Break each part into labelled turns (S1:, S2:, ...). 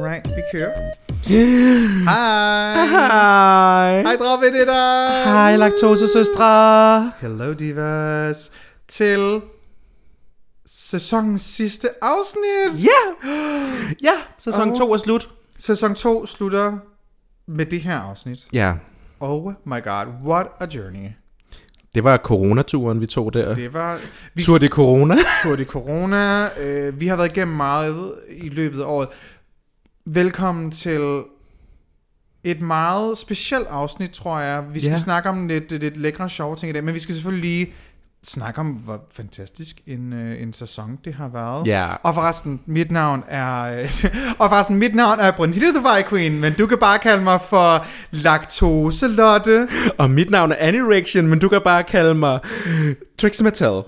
S1: Alright, vi kører. Hej.
S2: Hej.
S1: Hej, Drop it up.
S2: Hej, laktosesøstre.
S1: Hello, divas. Til sæsonens sidste afsnit.
S2: Ja. Ja, sæson 2 er slut.
S1: Sæson 2 slutter med det her afsnit.
S2: Ja,
S1: Oh my god, what a journey.
S2: det var coronaturen, vi tog der.
S1: Det var... Vi
S2: Tur det corona.
S1: Tur de corona. Øh, vi har været igennem meget i løbet af året. Velkommen til et meget specielt afsnit, tror jeg. Vi skal
S2: Ja.
S1: yeah. snakke om lidt, lidt lækre og sjove ting i dag, men vi skal selvfølgelig lige snakke om, hvor fantastisk en, øh, en sæson det har været.
S2: Ja.
S1: Og forresten, mit navn er... og forresten, mit navn er Brunhilde The Vi Queen, men du kan bare kalde mig for Laktose Lotte.
S2: Og mit navn er Anirection, men du kan bare kalde mig Trixie Mattel.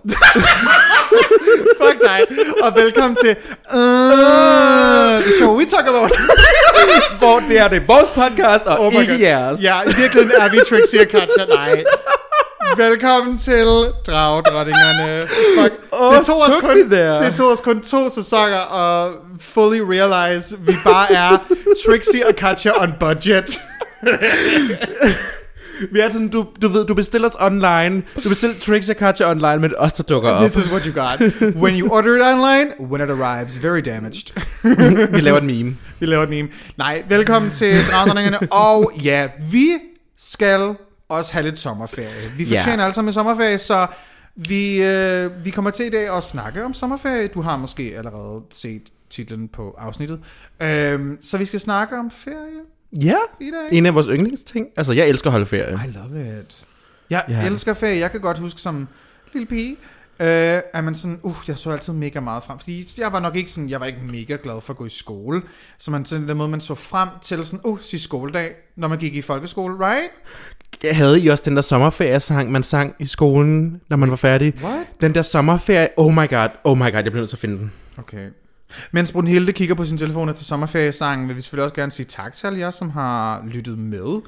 S1: Fuck dig. Og velkommen til...
S2: Øh,
S1: Uh, the show we talk about.
S2: Hvor det er det vores podcast, og oh
S1: my
S2: ikke
S1: God.
S2: jeres.
S1: Ja, i virkeligheden er vi Trixie og Katja. Nej. Velkommen til Dragdronningerne. Fuck.
S2: Åh, er took me there.
S1: det tog os kun to sæsoner og fully realize, vi bare er Trixie og Katja on budget.
S2: Vi er sådan, du, du ved, du bestiller os online. Du bestiller Trixie og Katja online, men det er os, der dukker op.
S1: This is what you got. When you order it online, when it arrives, very damaged.
S2: Vi laver en meme.
S1: Vi laver et meme. Nej, velkommen til Dragdronningerne. og ja, vi skal også have lidt sommerferie. Vi
S2: Ja.
S1: fortjener alle sammen en sommerferie, så vi, øh, vi kommer til i dag at snakke om sommerferie. Du har måske allerede set titlen på afsnittet. Øhm, så vi skal snakke om ferie
S2: Ja,
S1: i dag.
S2: en af vores yndlingsting. Altså, jeg elsker at holde ferie.
S1: I love it. Jeg
S2: Ja.
S1: yeah. elsker ferie. Jeg kan godt huske som lille pige, øh, at man sådan, uh, jeg så altid mega meget frem. Fordi jeg var nok ikke sådan, jeg var ikke mega glad for at gå i skole. Så man sådan den måde, man så frem til sådan, uh, sidste skoledag, når man gik i folkeskole, right?
S2: havde I også den der sommerferiesang, man sang i skolen, når man var færdig?
S1: What?
S2: Den der sommerferie, oh my god, oh my god, jeg bliver nødt til at finde den.
S1: Okay. Mens Brunhilde kigger på sin telefon til sommerferiesangen, vil vi selvfølgelig også gerne sige tak til alle jer, som har lyttet med.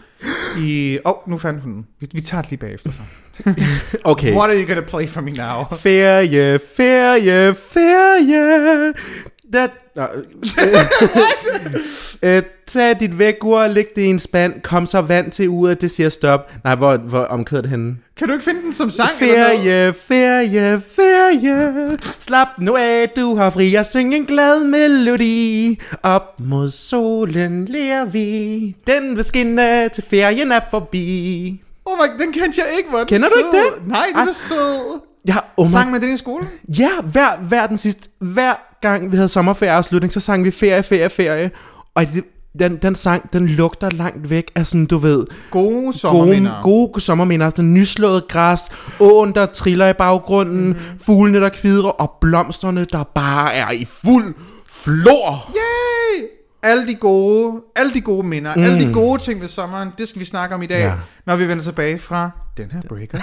S1: I... Åh, oh, nu fandt hun den. Vi, vi tager det lige bagefter så.
S2: Okay.
S1: What are you gonna play for me now?
S2: Ferie, ferie, ferie. Da, nå, øh, øh, tag dit vækord, læg det i en spand, kom så vand til uret, det siger stop. Nej, hvor, hvor omkød det henne?
S1: Kan du ikke finde den som sang? eller noget?
S2: Ferie, ferie, ferie. Slap nu af, du har fri og syng en glad melodi. Op mod solen lærer vi. Den vil skinne, til ferien er forbi.
S1: Oh my, den kendte jeg ikke, hvor er den
S2: Kender du ikke
S1: sød.
S2: den?
S1: Nej, den
S2: Ej.
S1: er sød.
S2: Ja, oh my
S1: Sang med den i skolen?
S2: Ja, hver, hver den sidste, hver gang vi havde sommerferieafslutning, så sang vi ferie, ferie, ferie. Og det, den, den sang, den lugter langt væk af sådan, du ved,
S1: Gode sommerminder.
S2: gode, gode sommerminder. Den nyslåede græs, åen, der triller i baggrunden, mm-hmm. fuglene, der kvidrer, og blomsterne, der bare er i fuld flor.
S1: Yay! Alle de gode, alle de gode minder, mm. alle de gode ting ved sommeren, det skal vi snakke om i dag,
S2: Ja.
S1: ja. når vi vender tilbage fra den her breaker.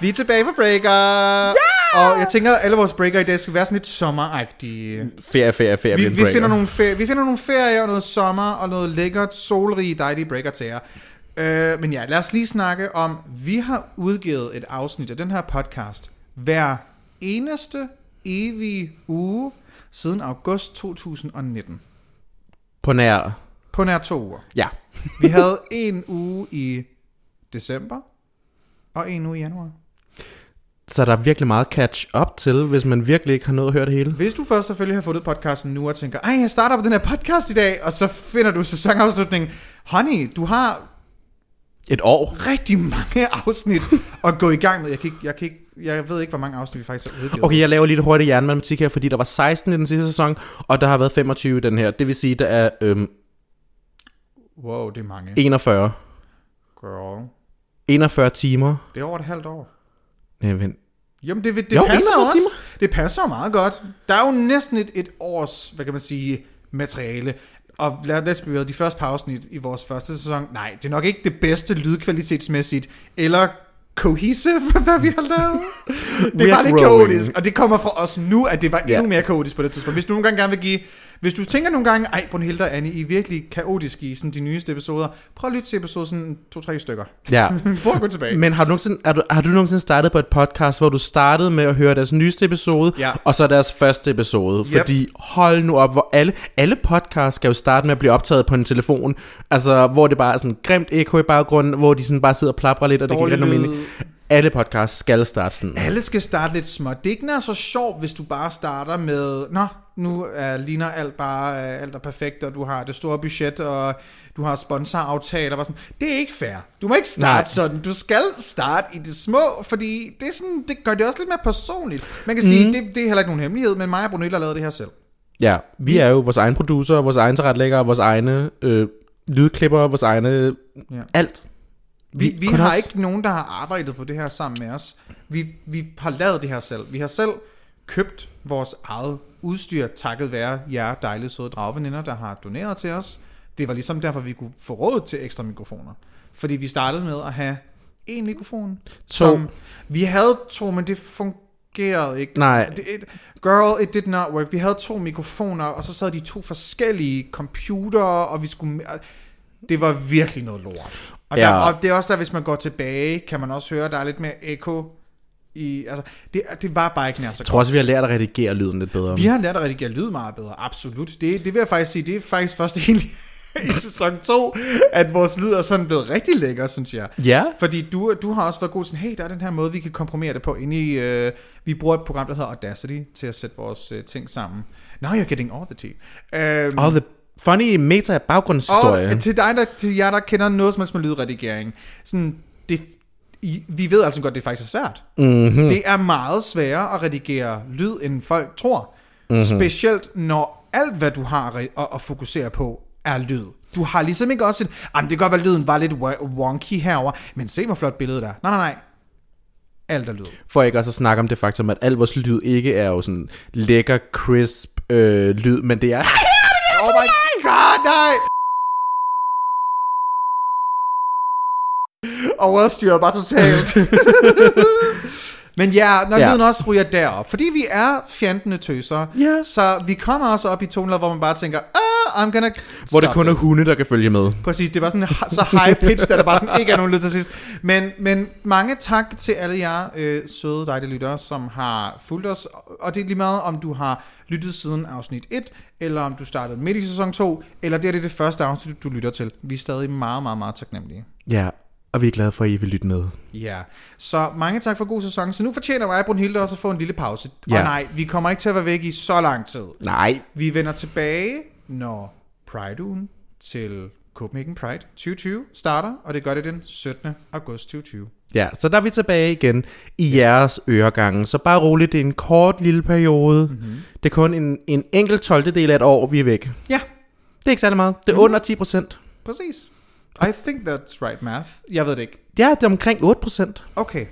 S1: vi er tilbage fra breaker. Yeah! Og jeg tænker, at alle vores breaker i dag skal være sådan lidt sommeragtige.
S2: Ferie, ferie, ferie.
S1: Vi, vi, finder nogle ferie, vi finder nogle ferie og noget sommer og noget lækkert, solrige, dejlige breaker til jer. Øh, men ja, lad os lige snakke om, vi har udgivet et afsnit af den her podcast hver eneste evige uge siden august 2019.
S2: På nær.
S1: På nær to uger.
S2: Ja.
S1: Vi havde en uge i december og en uge i januar.
S2: Så der er virkelig meget catch up til, hvis man virkelig ikke har nået at høre det hele.
S1: Hvis du først selvfølgelig har fundet podcasten nu og tænker, ej, jeg starter på den her podcast i dag, og så finder du sæsonafslutningen. Honey, du har
S2: Et år?
S1: rigtig mange afsnit at gå i gang med. Jeg, kan ikke, jeg, kan ikke, jeg ved ikke, hvor mange afsnit vi faktisk har udgivet.
S2: Okay, jeg laver lige lidt hurtigt hjernematematik her, fordi der var 16 i den sidste sæson, og der har været 25 i den her. Det vil sige, der er øhm,
S1: Wow, det er mange.
S2: 41.
S1: Girl.
S2: 41 timer.
S1: Det er over et halvt år.
S2: Nej, vent.
S1: Jamen, det, det
S2: Jo,
S1: jo, passer
S2: 41
S1: også. Timer. Det passer jo meget godt. Der er jo næsten et, et års, hvad kan man sige, materiale. Og lad os bevæge de første par afsnit i vores første sæson. Nej, det er nok ikke det bedste lydkvalitetsmæssigt, eller cohesive, hvad vi har lavet. Det
S2: We're
S1: var lidt
S2: growing.
S1: kaotisk, og det kommer fra os nu, at det var endnu
S2: Ja.
S1: mere kaotisk på det tidspunkt. Hvis du nogle gange gerne vil give... Hvis du tænker nogle gange, ej, Brunhilde og Annie, I er virkelig kaotiske i sådan, de nyeste episoder, prøv at lytte til episode sådan to-tre stykker.
S2: Ja.
S1: Prøv at gå tilbage.
S2: Men har du, nogensinde, er du, har du nogensinde startet på et podcast, hvor du startede med at høre deres nyeste episode,
S1: Ja.
S2: og så deres første episode? Yep. Fordi hold nu op, hvor alle, alle podcasts skal jo starte med at blive optaget på en telefon, altså hvor det bare er sådan et grimt ekko i baggrunden, hvor de sådan bare sidder og plapper lidt, og det giver
S1: Dårlig
S2: ikke rigtig nogen
S1: lyd.
S2: mening. Alle podcasts skal starte sådan.
S1: Alle skal starte lidt småt. Det er ikke nær så sjovt, hvis du bare starter med, nå, nu er, ligner alt bare, øh, alt er perfekt, og du har det store budget, og du har sponsoraftaler og sådan. Det er ikke fair. Du må ikke starte
S2: Nej.
S1: Nej. sådan. Du skal starte i det små, fordi det, er sådan, det gør det også lidt mere personligt. Man kan mm. sige, det, det er heller ikke nogen hemmelighed, men mig og Brunel har lavet det her selv.
S2: Ja, vi er jo vores egen producer, vores egen tilrettelæggere, vores egne øh, lydklipper, vores egne... Ja.
S1: Ja.
S2: Alt.
S1: Vi, vi
S2: kun
S1: har
S2: os.
S1: ikke nogen, der har arbejdet på det her sammen med os. Vi, vi har lavet det her selv. Vi har selv købt vores eget udstyr, takket være jer dejlige søde dragveninder, der har doneret til os. Det var ligesom derfor, vi kunne få råd til ekstra mikrofoner. Fordi vi startede med at have én mikrofon.
S2: To.
S1: vi havde to, men det fungerede ikke.
S2: Nej.
S1: Det, it, girl, it did not work. Vi havde to mikrofoner, og så sad de to forskellige computer, og vi skulle... Det var virkelig noget lort. Og, der,
S2: Ja.
S1: og det er også der, hvis man går tilbage, kan man også høre, der er lidt mere ekko i... Altså, det, det var bare ikke nær så
S2: Jeg tror også, vi har lært at redigere lyden lidt bedre.
S1: vi har lært at redigere lyd meget bedre, absolut. Det, det vil jeg faktisk sige, det er faktisk først egentlig i sæson 2, at vores lyd er sådan blevet rigtig lækker, synes jeg.
S2: Ja.
S1: Fordi du, du har også været god sådan, hey, der er den her måde, vi kan komprimere det på inde i... Øh, vi bruger et program, der hedder Audacity, til at sætte vores øh, ting sammen. Now you're getting all the tea. Øhm,
S2: Og the funny meta baggrundshistorie.
S1: og til, dig, der, til jer, der kender noget som helst med lydredigering, sådan, det, I, vi ved altså godt, det faktisk er svært.
S2: Mhm.
S1: Mm-hmm. Det er meget sværere at redigere lyd, end folk tror.
S2: Mhm.
S1: Mm-hmm. Specielt når alt, hvad du har at, re- at, at fokusere på, er lyd. Du har ligesom ikke også et, jamen det kan godt være, lyden var lidt wo- wonky herover, men se, hvor flot billedet er. Nej, nej, nej. Alt er lyd.
S2: For ikke også at snakke om det faktum, at al vores lyd ikke er jo sådan lækker, crisp øh, lyd, men det er...
S1: Oh my god, nej! Overstyret bare totalt. Men ja, når
S2: Ja.
S1: ja. lyden også ryger derop, fordi vi er fjantende tøser,
S2: Ja.
S1: så vi kommer også op i toner, hvor man bare tænker, ah, I'm gonna
S2: Hvor det
S1: stop
S2: kun er hunde, der kan følge med.
S1: Præcis, det var sådan så high pitched, at der bare sådan ikke er nogen lyd til sidst. Men, men mange tak til alle jer øh, søde dejlige lyttere, som har fulgt os. Og det er lige meget, om du har lyttet siden afsnit 1, eller om du startede midt i sæson 2, eller det er det, er det første afsnit, du lytter til. Vi er stadig meget, meget, meget taknemmelige.
S2: Ja, og vi er glade for, at I vil lytte med.
S1: Ja, så mange tak for god sæson. Så nu fortjener mig og Brunhilde også at få en lille pause.
S2: Ja.
S1: Og nej, vi kommer ikke til at være væk i så lang tid.
S2: Nej.
S1: Vi vender tilbage, når Pride-ugen til Copenhagen Pride 2020 starter, og det gør det den 17. august 2020.
S2: Ja, så der er vi tilbage igen i jeres øregange. Så bare roligt, det er en kort lille periode.
S1: Mhm.
S2: Mm-hmm. Det er kun en, en enkelt 12. del af et år, vi er væk. Det
S1: Ja,
S2: er ikke særlig meget. Det er under 10 procent.
S1: præcis. I think that's right math. Jeg ved det ikke.
S2: Ja, det er omkring 8 procent.
S1: Okay.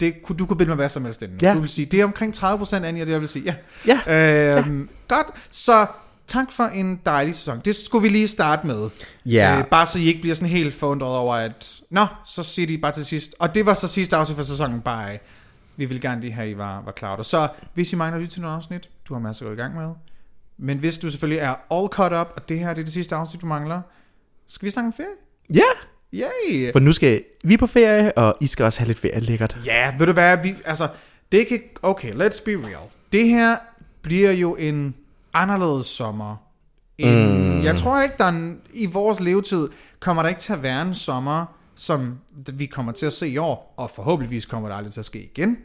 S1: Det, kunne- du kunne bilde mig hvad som helst inden.
S2: Ja.
S1: Du vil sige, det er omkring 30 Annie, og det jeg vil sige, ja.
S2: Ja.
S1: Øhm, ja. Godt, så tak for en dejlig sæson. Det skulle vi lige starte med.
S2: Ja.
S1: Øh, bare så I ikke bliver sådan helt forundret over, at nå, så siger de bare til sidst. Og det var så sidste afsnit for sæsonen, bare vi vil gerne lige have, I var, var klar. over. Så hvis I mangler at lytte til nogle afsnit, du har masser at gå i gang med. Men hvis du selvfølgelig er all caught up, og det her det er det sidste afsnit, du mangler, skal vi snakke om ferie?
S2: Ja.
S1: Yay!
S2: For nu skal vi på ferie, og I skal også have lidt ferie lækkert.
S1: Ja, ved du hvad, vi, altså, det kan, okay, let's be real. Det her bliver jo en anderledes sommer. En, mm. Jeg tror ikke, der er en, i vores levetid kommer der ikke til at være en sommer, som vi kommer til at se i år, og forhåbentligvis kommer det aldrig til at ske igen.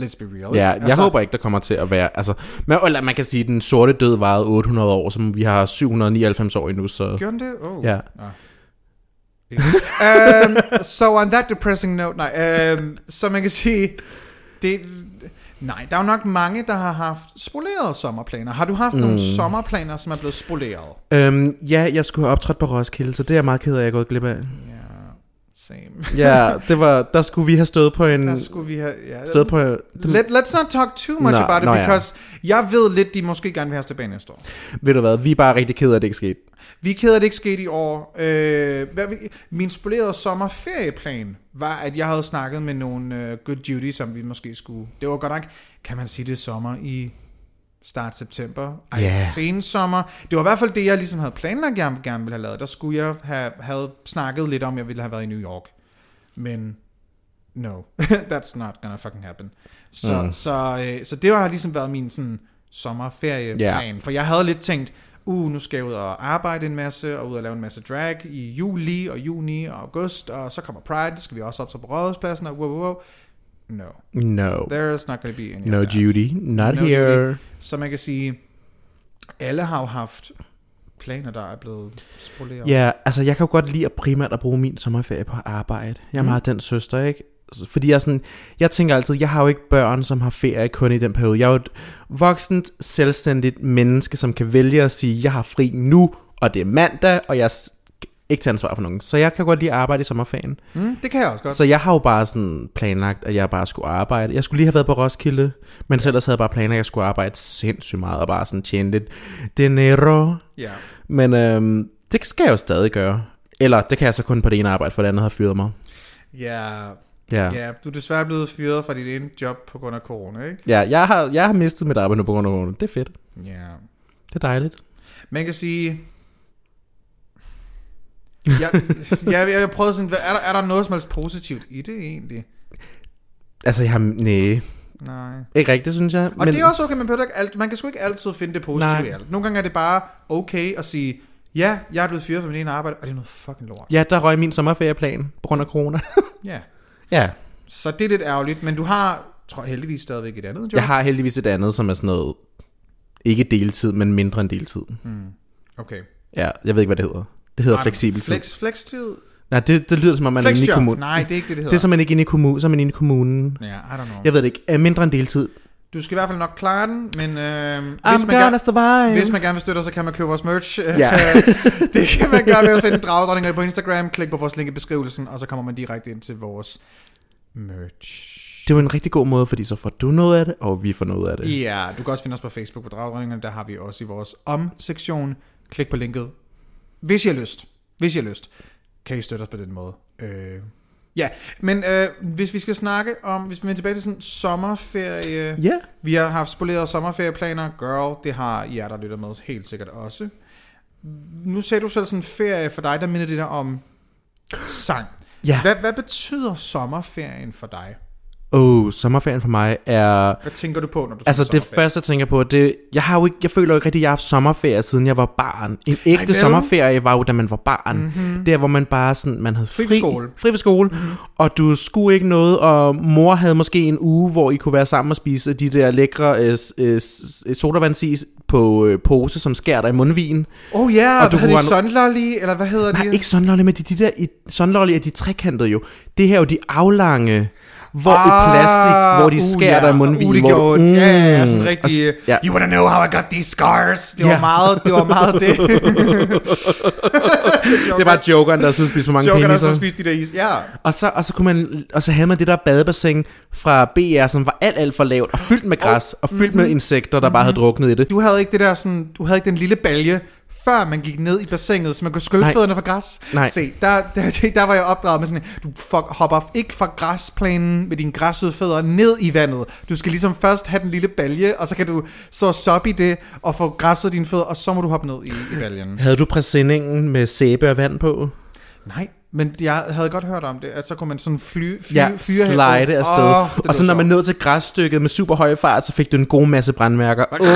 S1: Let's be real. Altså,
S2: Ja, jeg håber ikke, der kommer til at være... Altså, man, eller man kan sige, at den sorte død varede 800 år, som vi har 799 år endnu, så...
S1: Gjorde den det? Oh.
S2: Ja.
S1: Nå. um, so on that depressing note, nej. Um, så man kan sige, det, nej, der er jo nok mange, der har haft spolerede sommerplaner. Har du haft mm. nogle sommerplaner, som er blevet spoleret?
S2: Øhm, ja, jeg skulle have optrådt på Roskilde, så det er jeg meget ked af, at jeg er gået glip af.
S1: Ja, same.
S2: Ja, det var, der skulle vi have stået på en...
S1: Der skulle vi have... Ja,
S2: Stået Mm. på, det,
S1: Let, let's not talk too much
S2: Nå,
S1: about it,
S2: nå ja.
S1: because jeg ved lidt, de måske gerne vil have os tilbage næste år.
S2: ved du hvad, vi er bare rigtig ked af, at det ikke skete.
S1: Vi er ked af, at det ikke skete i år. Øh, hvad, vi- min spolerede sommerferieplan var, at jeg havde snakket med nogle øh, good duty, som vi måske skulle... Det var godt nok, kan man sige det, er sommer i start september. Ej,
S2: Ja.
S1: yeah. sen sommer. Det var i hvert fald det, jeg ligesom havde planlagt, jeg gerne ville have lavet. Der skulle jeg have havde snakket lidt om, at jeg ville have været i New York. Men no, that's not gonna fucking happen. Så, mm. så, øh, så det har ligesom været min sådan sommerferieplan. Yeah. For jeg havde lidt tænkt, uh, nu skal jeg ud og arbejde en masse, og ud og lave en masse drag i juli og juni og august, og så kommer Pride, så skal vi også op til på Rådhuspladsen, og wow, wow, wow. No,
S2: No.
S1: there's not gonna be any
S2: No
S1: of that.
S2: Judy. Not
S1: No
S2: here.
S1: Judy. Så man kan sige, alle har jo haft planer, der er blevet spoleret.
S2: Ja, altså jeg kan jo godt lide at primært at bruge min sommerferie på arbejde. Jeg er meget den søster, ikke? Altså, Fordi jeg, er sådan, jeg tænker altid, jeg har jo ikke børn, som har ferie kun i den periode. Jeg er jo et voksent, selvstændigt menneske, som kan vælge at sige, jeg har fri nu, og det er mandag, og jeg er s- ikke tager ansvar for nogen. Så jeg kan godt lide at arbejde i sommerferien.
S1: Mm, det kan jeg også godt.
S2: Så jeg har jo bare sådan planlagt, at jeg bare skulle arbejde. Jeg skulle lige have været på Roskilde, men ellers havde jeg bare planlagt, at jeg skulle arbejde sindssygt meget, og bare sådan tjene lidt dinero.
S1: Ja.
S2: Men øhm, det skal jeg jo stadig gøre. Eller det kan jeg så kun på det ene arbejde, for det andet har fyret mig.
S1: Ja,
S2: Ja. Yeah.
S1: ja, du er desværre blevet fyret fra dit ene job på grund af corona, ikke?
S2: Ja, jeg har, jeg har mistet mit arbejde nu på grund af corona. Det er fedt.
S1: Ja.
S2: Det er dejligt.
S1: Man kan sige... Jeg, jeg, jeg, jeg prøvede sådan, hvad- er der, er der noget som helst positivt i det egentlig?
S2: Altså, jeg har... Næh.
S1: Nej.
S2: Ikke rigtigt, synes jeg.
S1: Og men, det er også okay, man, behøver ikke alt, man kan sgu ikke altid finde det positive
S2: Nej.
S1: i alt. Nogle gange er det bare okay at sige, ja, jeg er blevet fyret fra min ene arbejde, og det er noget fucking lort.
S2: Ja, der røg min sommerferieplan på grund af corona.
S1: Ja.
S2: ja.
S1: Så det er lidt ærgerligt, men du har, tror jeg heldigvis stadigvæk et andet job.
S2: Jeg har heldigvis et andet, som er sådan noget... Ikke deltid, men mindre end deltid.
S1: Okay.
S2: Ja, jeg ved ikke, hvad det hedder. Det hedder fleksibel tid.
S1: Flex, flextid?
S2: Nej, det, det lyder som om, man er inde i
S1: Flexjob?
S2: kommunen.
S1: Nej, det er ikke det, det hedder.
S2: Det er som man ikke inde i kommunen, så er man inde i kommunen.
S1: Ja, I don't know.
S2: Jeg ved det ikke. Er mindre end deltid.
S1: Du skal i hvert fald nok klare den, men øh, hvis,
S2: I'm
S1: man gerne,
S2: gonna survive.
S1: hvis man gerne vil støtte os, så kan man købe vores merch.
S2: Mm. Ja.
S1: det kan man gøre ved at finde dragdronningerne på Instagram. Klik på vores link i beskrivelsen, og så kommer man direkte ind til vores merch.
S2: Det er jo en rigtig god måde, fordi så får du noget af det, og vi får noget af det.
S1: Ja, du kan også finde os på Facebook på Dragdronningerne. Der har vi også i vores om-sektion. Klik på linket. Hvis I har lyst. Hvis I har lyst. Kan I støtte os på den måde. Øh. Ja, men øh, hvis vi skal snakke om, hvis vi vender tilbage til sådan sommerferie...
S2: Ja.
S1: Vi har haft spoleret sommerferieplaner. Girl, det har jer, der lytter med, helt sikkert også. Nu sagde du selv sådan en ferie for dig, der minder det der om sang.
S2: Ja.
S1: Hvad, hvad betyder sommerferien for dig?
S2: Åh, oh, sommerferien for mig er...
S1: Hvad tænker du på, når du
S2: Altså
S1: tænker
S2: det
S1: sommerferie?
S2: første, jeg tænker på, det... Jeg, har jo ikke, jeg føler jo ikke rigtig, at jeg har haft sommerferie, siden jeg var barn. En
S1: vel?
S2: ægte
S1: Mhm.
S2: Ej, sommerferie var jo, da man var barn. Mm-hmm. Der, hvor man bare sådan... Man havde fri,
S1: Fri på skole.
S2: Fri på skole.
S1: Mhm.
S2: Mm-hmm. Og du skulle ikke noget, og mor havde måske en uge, hvor I kunne være sammen og spise de der lækre øh, s- øh, s- sodavandsis på øh, pose, som skærer dig i mundvin.
S1: Oh ja, yeah,
S2: Og du
S1: hvad hedder de?
S2: kunne
S1: Sunlolly, eller hvad hedder
S2: Nej,
S1: de?
S2: ikke sunlolly, men de, de der, i, sunlolly er de trekantede jo. Det her er jo de aflange, hvor ah, i plastik, hvor de skærer dig i mundvinen.
S1: Uh, det
S2: hvor du-
S1: gjorde ondt. Ja, ja, ja, sådan
S2: Mm.
S1: rigtig... uh,
S2: Og s- Ja.
S1: You wanna know how I got these scars? Det var
S2: Ja.
S1: meget det. Var meget det.
S2: Mm. Det var jokeren, der sidder spiste for mange
S1: Joker, der så
S2: peniser.
S1: spiste de der is. Ja.
S2: Og så, og, så kunne man, og så havde man det der badebassin fra BR, som var alt, alt for lavt, og fyldt med græs, og fyldt
S1: Mhm.
S2: med insekter, der bare havde druknet i det.
S1: Du havde ikke det der sådan, du havde ikke den lille balje, før man gik ned i bassinet, så man kunne skylle
S2: Nej.
S1: fødderne fra græs.
S2: Nej.
S1: Se, der, der, der var jeg opdraget med sådan, du fuck, hopper ikke fra græsplænen med dine græssede fødder ned i vandet. Du skal ligesom først have den lille balje, og så kan du så soppe i det, og få græsset dine fødder, og så må du hoppe ned i, i baljen.
S2: Havde du præsendingen med sæbe og vand på?
S1: Nej, men jeg havde godt hørt om det, at så kunne man sådan fly, fly,
S2: Ja,
S1: fyre hen.
S2: slide afsted.
S1: Åh, det
S2: Oh, og så
S1: lød
S2: når man
S1: sjovt.
S2: nåede til græsstykket med super høj fart, så fik du en god masse brandmærker. Åh, oh,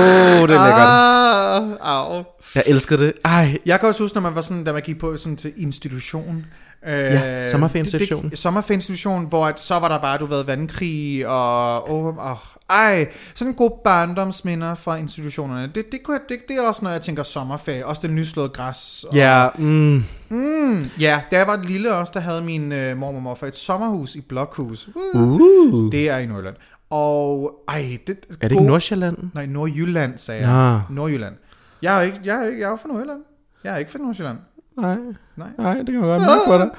S2: det er lækkert.
S1: Ah, au.
S2: Jeg elskede det. Ej,
S1: Jeg kan også huske, når man var sådan, da man gik på sådan til institution, Øh,
S2: Ja, sommerferieinstitutionen.
S1: det- det- Sommerferieinstitutionen, hvor at, så var der bare, du ved, vandkrig og... Oh, oh, ej, sådan gode barndomsminder fra institutionerne. Det, det, kunne jeg, det, det er også, når jeg tænker sommerferie. Også det nyslåede græs. Og,
S2: Ja, mm,
S1: Mm, ja, da jeg var lille også, der havde min øh, mormor og morfar et sommerhus i Blokhus. Uh,
S2: uh.
S1: Det er i Nordjylland. Og ej, det...
S2: Er det ikke Nordsjælland?
S1: Nej, Nordjylland, sagde jeg.
S2: Ja.
S1: Nordjylland. Jeg er jo ikke, jeg er, jo ikke, jeg er jo fra Nordjylland. Jeg er ikke fra Nordsjælland.
S2: Nej.
S1: Nej.
S2: Nej, Ah. det kan man godt mærke på dig.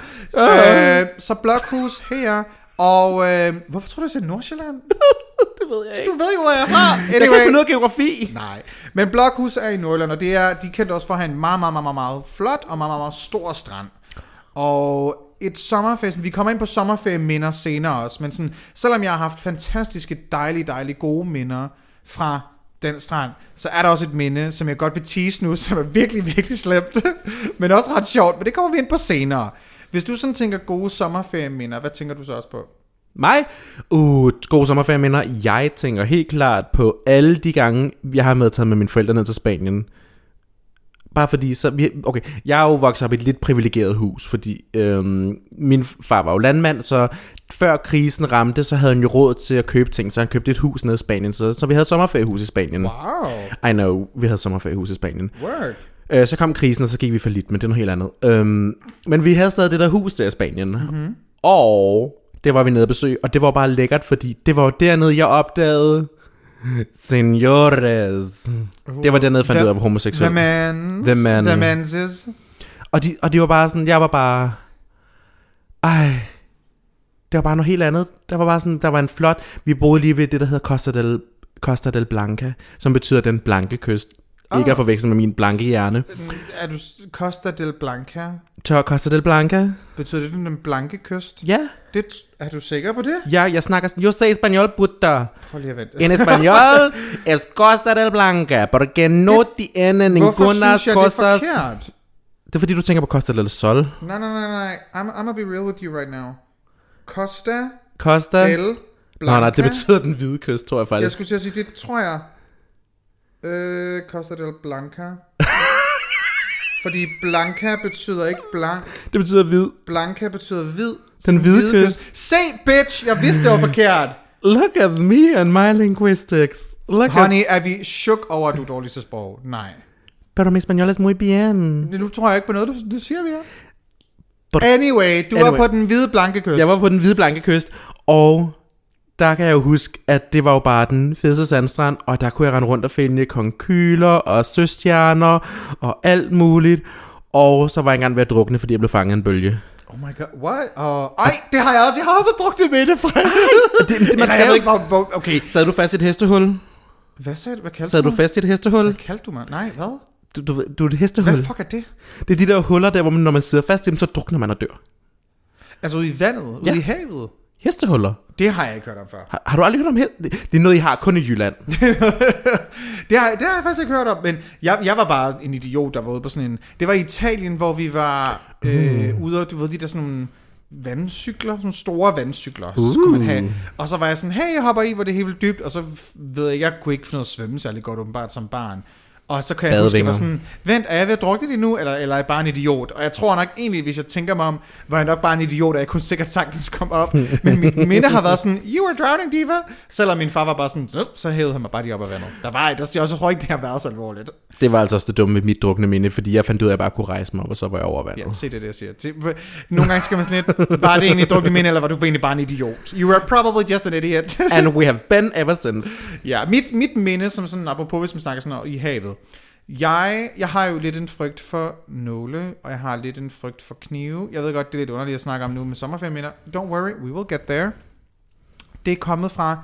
S2: Ah.
S1: Øh, så Blokhus her, og øh, hvorfor tror du, jeg sagde Nordsjælland?
S2: Det ved jeg
S1: Du ved jo, hvor jeg er fra.
S2: Jeg kan ikke
S1: Anyway.
S2: finde noget geografi.
S1: Nej, men Blokhus er i Nordjylland, og det er, de er kendt også for at have en meget, meget, meget, meget, meget flot og meget, meget, meget stor strand. Og et sommerfest, vi kommer ind på sommerferieminder senere også, men sådan, selvom jeg har haft fantastiske, dejlige, dejlige, gode minder fra den strand, så er der også et minde, som jeg godt vil tease nu, som er virkelig, virkelig slemt, men også ret sjovt, men det kommer vi ind på senere. Hvis du sådan tænker gode sommerferieminder, hvad tænker du så også på?
S2: Mig? Uh, god sommerferie, mener. Jeg tænker helt klart på alle de gange, jeg har medtaget med mine forældre ned til Spanien. Bare fordi, så vi, okay, jeg er jo vokset op i et lidt privilegeret hus, fordi øhm, min far var jo landmand, så før krisen ramte, så havde han jo råd til at købe ting, så han købte et hus nede i Spanien, så, så vi havde et sommerferiehus i Spanien.
S1: Wow,
S2: I know, vi havde et sommerferiehus i Spanien.
S1: work.
S2: Øh, så kom krisen, og så gik vi for lidt, men det er noget helt andet. Øhm, men vi havde stadig det der hus der i Spanien. Mm-hmm. Og det var vi nede at besøge, og det var bare lækkert, fordi det var jo dernede, jeg opdagede... Senores. Det var dernede, jeg fandt ud af, hvor
S1: The
S2: homoseksuel.
S1: man.
S2: The man.
S1: The man's.
S2: Og de, og de var bare sådan, jeg var bare... Ej, det var bare noget helt andet. Der var bare sådan, der var en flot... Vi boede lige ved det, der hedder Costa del, Costa del Blanca, som betyder den blanke kyst. Oh. Ikke
S1: Ah.
S2: at forveksle med min blanke hjerne.
S1: Er du Costa del Blanca?
S2: Tør Costa del Blanca?
S1: Betyder det den blanke kyst?
S2: Ja.
S1: Det, er du sikker på det?
S2: Ja, jeg snakker sådan, yo sé español, puta.
S1: Prøv lige at vente.
S2: En español es Costa del Blanca, porque no tiene
S1: Hvorfor
S2: ninguna
S1: synes jeg, det er
S2: cosas...
S1: forkert?
S2: Det er fordi, du tænker på Costa del Sol.
S1: Nej, nej, nej, nej. I'm, I'm gonna be real with you right now. Costa
S2: Costa...
S1: del Blanca.
S2: Nej, nej, det betyder den hvide kyst, tror jeg
S1: Jeg
S2: faktisk.
S1: skulle til at sige, det tror jeg. Øh, Costa del Blanca. Fordi Blanca betyder ikke blank.
S2: Det betyder hvid.
S1: Blanca betyder hvid.
S2: Den hvide kyst.
S1: Se, bitch! Jeg vidste, det var forkert.
S2: Look at me and my linguistics. Look at...
S1: Honey, er vi chok over, at du er dårlig til sprog? Nej.
S2: Pero mi español es muy bien.
S1: Men Nu tror jeg ikke på noget, du, du siger mere.
S2: But-
S1: Anyway, du
S2: Anyway.
S1: var på den hvide blanke kyst.
S2: Jeg var på den hvide blanke kyst, og der kan jeg jo huske, at det var jo bare den fedeste sandstrand, og der kunne jeg rende rundt og finde konkyler og søstjerner og alt muligt. Og så var jeg engang ved at drukne, fordi jeg blev fanget af en bølge.
S1: Oh my god, what? Uh, ej, det har jeg også. Jeg har også drukket med det, Fred.
S2: Det, det, man
S1: Eller jeg
S2: skal
S1: ved
S2: jo...
S1: ikke, hvor... hvor- Okay.
S2: Sad du fast i et hestehul?
S1: Hvad sagde du? Hvad kaldte
S2: Sad
S1: du
S2: du
S1: mig?
S2: fast i et
S1: Hvad
S2: hestehul?
S1: kaldte du mig? Nej, hvad?
S2: Mm. Du, du, ved- du er et hestehul.
S1: Hvad fuck er det?
S2: Det er de der huller der, hvor man, når man sidder fast i dem, så drukner man og dør.
S1: Altså ude i vandet? Ude
S2: Ja.
S1: i havet?
S2: Hestehuller.
S1: Det har jeg ikke hørt om før.
S2: Har, har du aldrig hørt om hest? Det, det er noget, I har kun i Jylland.
S1: Det har, det har jeg faktisk ikke hørt om, men jeg, jeg var bare en idiot, der var ude på sådan en... Det var i Italien, hvor vi var øh, ude, og du ved, de der sådan nogle vandcykler, sådan store vandcykler, uh. skulle man have. Og så var jeg sådan, hey, jeg hopper i, hvor det er helt vildt dybt, og så f- ved jeg, jeg kunne ikke finde noget at svømme særlig godt, åbenbart som barn. Og så kan jeg huske, jeg var
S2: Badevinger.
S1: sådan, vent, er jeg ved at drukne lige nu, eller, eller er jeg bare en idiot? Og jeg tror nok egentlig, hvis jeg tænker mig om, var jeg nok bare en idiot, og jeg kunne sikkert sagtens komme op. Men mit minde har været sådan, you are drowning, diva. Selvom min far var bare sådan, "Nup," så hævede han mig bare lige op af vandet. Der var, der, jeg tror ikke, det har været så alvorligt.
S2: Det var altså også det dumme med mit drukne minde, fordi jeg fandt ud af, at jeg bare kunne rejse mig op, og så var jeg over vandet.
S1: Ja, se det, det jeg siger. Det- Nogle gange skal man sådan lidt, var det egentlig et drukket minde, eller var du egentlig bare en idiot? You were probably just an idiot.
S2: And we have been ever since.
S1: Ja, mit, mit minde, som sådan, apropos hvis man snakker sådan om i havet. Jeg, jeg har jo lidt en frygt for nåle, og jeg har lidt en frygt for knive. Jeg ved godt, det er lidt underligt at snakke om nu med sommerferieminder. Don't worry, we will get there. Det er kommet fra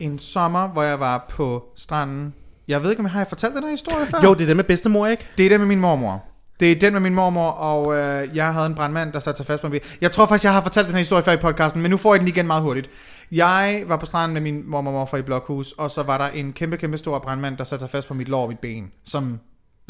S1: en sommer, hvor jeg var på stranden. Jeg ved ikke, om jeg har jeg fortalt den her historie før?
S2: Jo, det er det med bedstemor, ikke?
S1: Det er den med min mormor. Det er den med min mormor, og øh, jeg havde en brandmand, der satte sig fast på en bil. Jeg tror faktisk, jeg har fortalt den her historie før i podcasten, men nu får I den igen meget hurtigt. Jeg var på stranden med min mormor og morfar i Blokhus, og så var der en kæmpe, kæmpe stor brandmand, der satte sig fast på mit lår og mit ben, som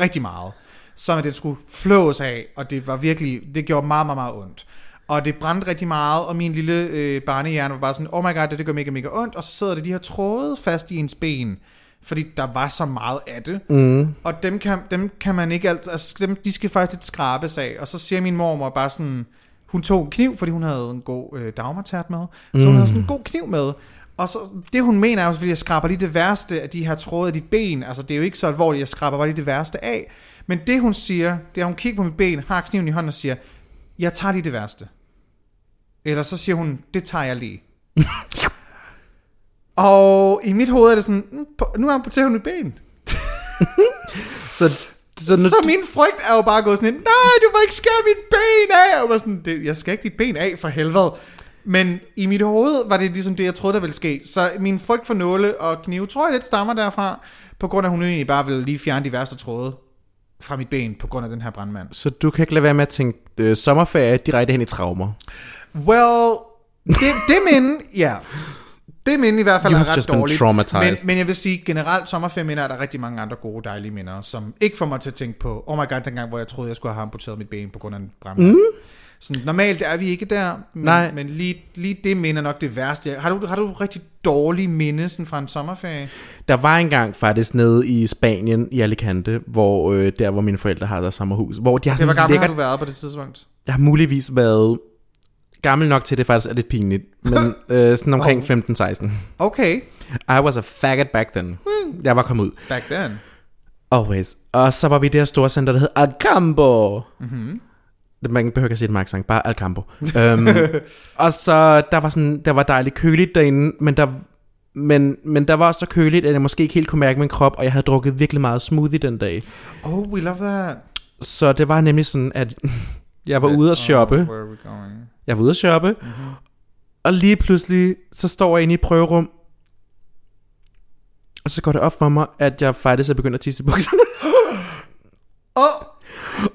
S1: rigtig meget, som at den skulle flås af, og det var virkelig, det gjorde meget, meget, meget ondt. Og det brændte rigtig meget, og min lille øh, barnehjerne var bare sådan, oh my god, det, det gør mega, mega ondt, og så sidder det de her tråde fast i ens ben, fordi der var så meget af det. Mm. Og dem kan, dem kan man ikke alt, altså dem, de skal faktisk lidt skrabes af. Og så siger min mormor bare sådan, Hun tog en kniv, fordi hun havde en god øh, dagmartært med. Så hun havde sådan en god kniv med. Og så, det hun mener er jo selvfølgelig, at jeg skraber lige det værste af de her tråde af dit ben. Altså, det er jo ikke så alvorligt, jeg skraber bare lige det værste af. Men det hun siger, det er, at hun kigger på mit ben, har kniven i hånden og siger, jeg tager lige det værste. Eller så siger hun, det tager jeg lige. og i mit hoved er det sådan, "Mm, på- nu amputerer hun mit ben.
S2: Så, så, nu,
S1: Så min frygt er jo bare gået sådan en, nej, du må ikke skære mit ben af. Jeg var sådan, det, jeg skal ikke dit ben af for helvede. Men i mit hoved var det ligesom det, jeg troede, der ville ske. Så min frygt for nåle og knive, tror jeg lidt stammer derfra, på grund af, at hun egentlig bare ville lige fjerne de værste tråde fra mit ben, på grund af den her brandmand.
S2: så du kan ikke lade være med at tænke øh, sommerferie direkte hen i traumer.
S1: Well, det, det minde, ja. Det minde i hvert fald
S2: You have
S1: er ret
S2: just been
S1: dårligt. Men,
S2: traumatized.
S1: men jeg vil sige, generelt sommerferieminder er der rigtig mange andre gode, dejlige minder, som ikke får mig til at tænke på, oh my god, dengang, hvor jeg troede, jeg skulle have amputeret mit ben på grund af en brandmand. Mm. Sådan, normalt er vi ikke der, men,
S2: Nej.
S1: men lige, lige det minder nok det værste. Har du, har du rigtig dårlige minde sådan fra en sommerferie?
S2: Der var engang faktisk nede i Spanien, i Alicante, hvor øh, der, hvor mine forældre har deres sommerhus, hvor de har
S1: Det
S2: sådan
S1: var
S2: et
S1: gammel, har
S2: lækkert...
S1: du været på det tidspunkt?
S2: Jeg har muligvis været gammel nok til, at det faktisk er lidt pinligt, men øh, sådan omkring 15-16.
S1: Okay,
S2: I was a faggot back then.
S1: Hmm.
S2: Jeg var kommet ud.
S1: back then.
S2: Always. Og så var vi i det her store center, der hed Alcampo. Mm-hmm. Man behøver ikke at sige det med accent, bare Alcampo. um, og så der var sådan, der var dejligt køligt derinde, men der, men, men der var også så køligt, at jeg måske ikke helt kunne mærke min krop, og jeg havde drukket virkelig meget smoothie den dag.
S1: Oh, we love that.
S2: Så det var nemlig sådan, at jeg var ude at shoppe.
S1: Oh, where are we going?
S2: Jeg var ude at shoppe. Mm-hmm. Og lige pludselig, så står jeg inde i et prøverum. Og så går det op for mig, at jeg faktisk er begyndt at tisse i bukserne.
S1: Oh,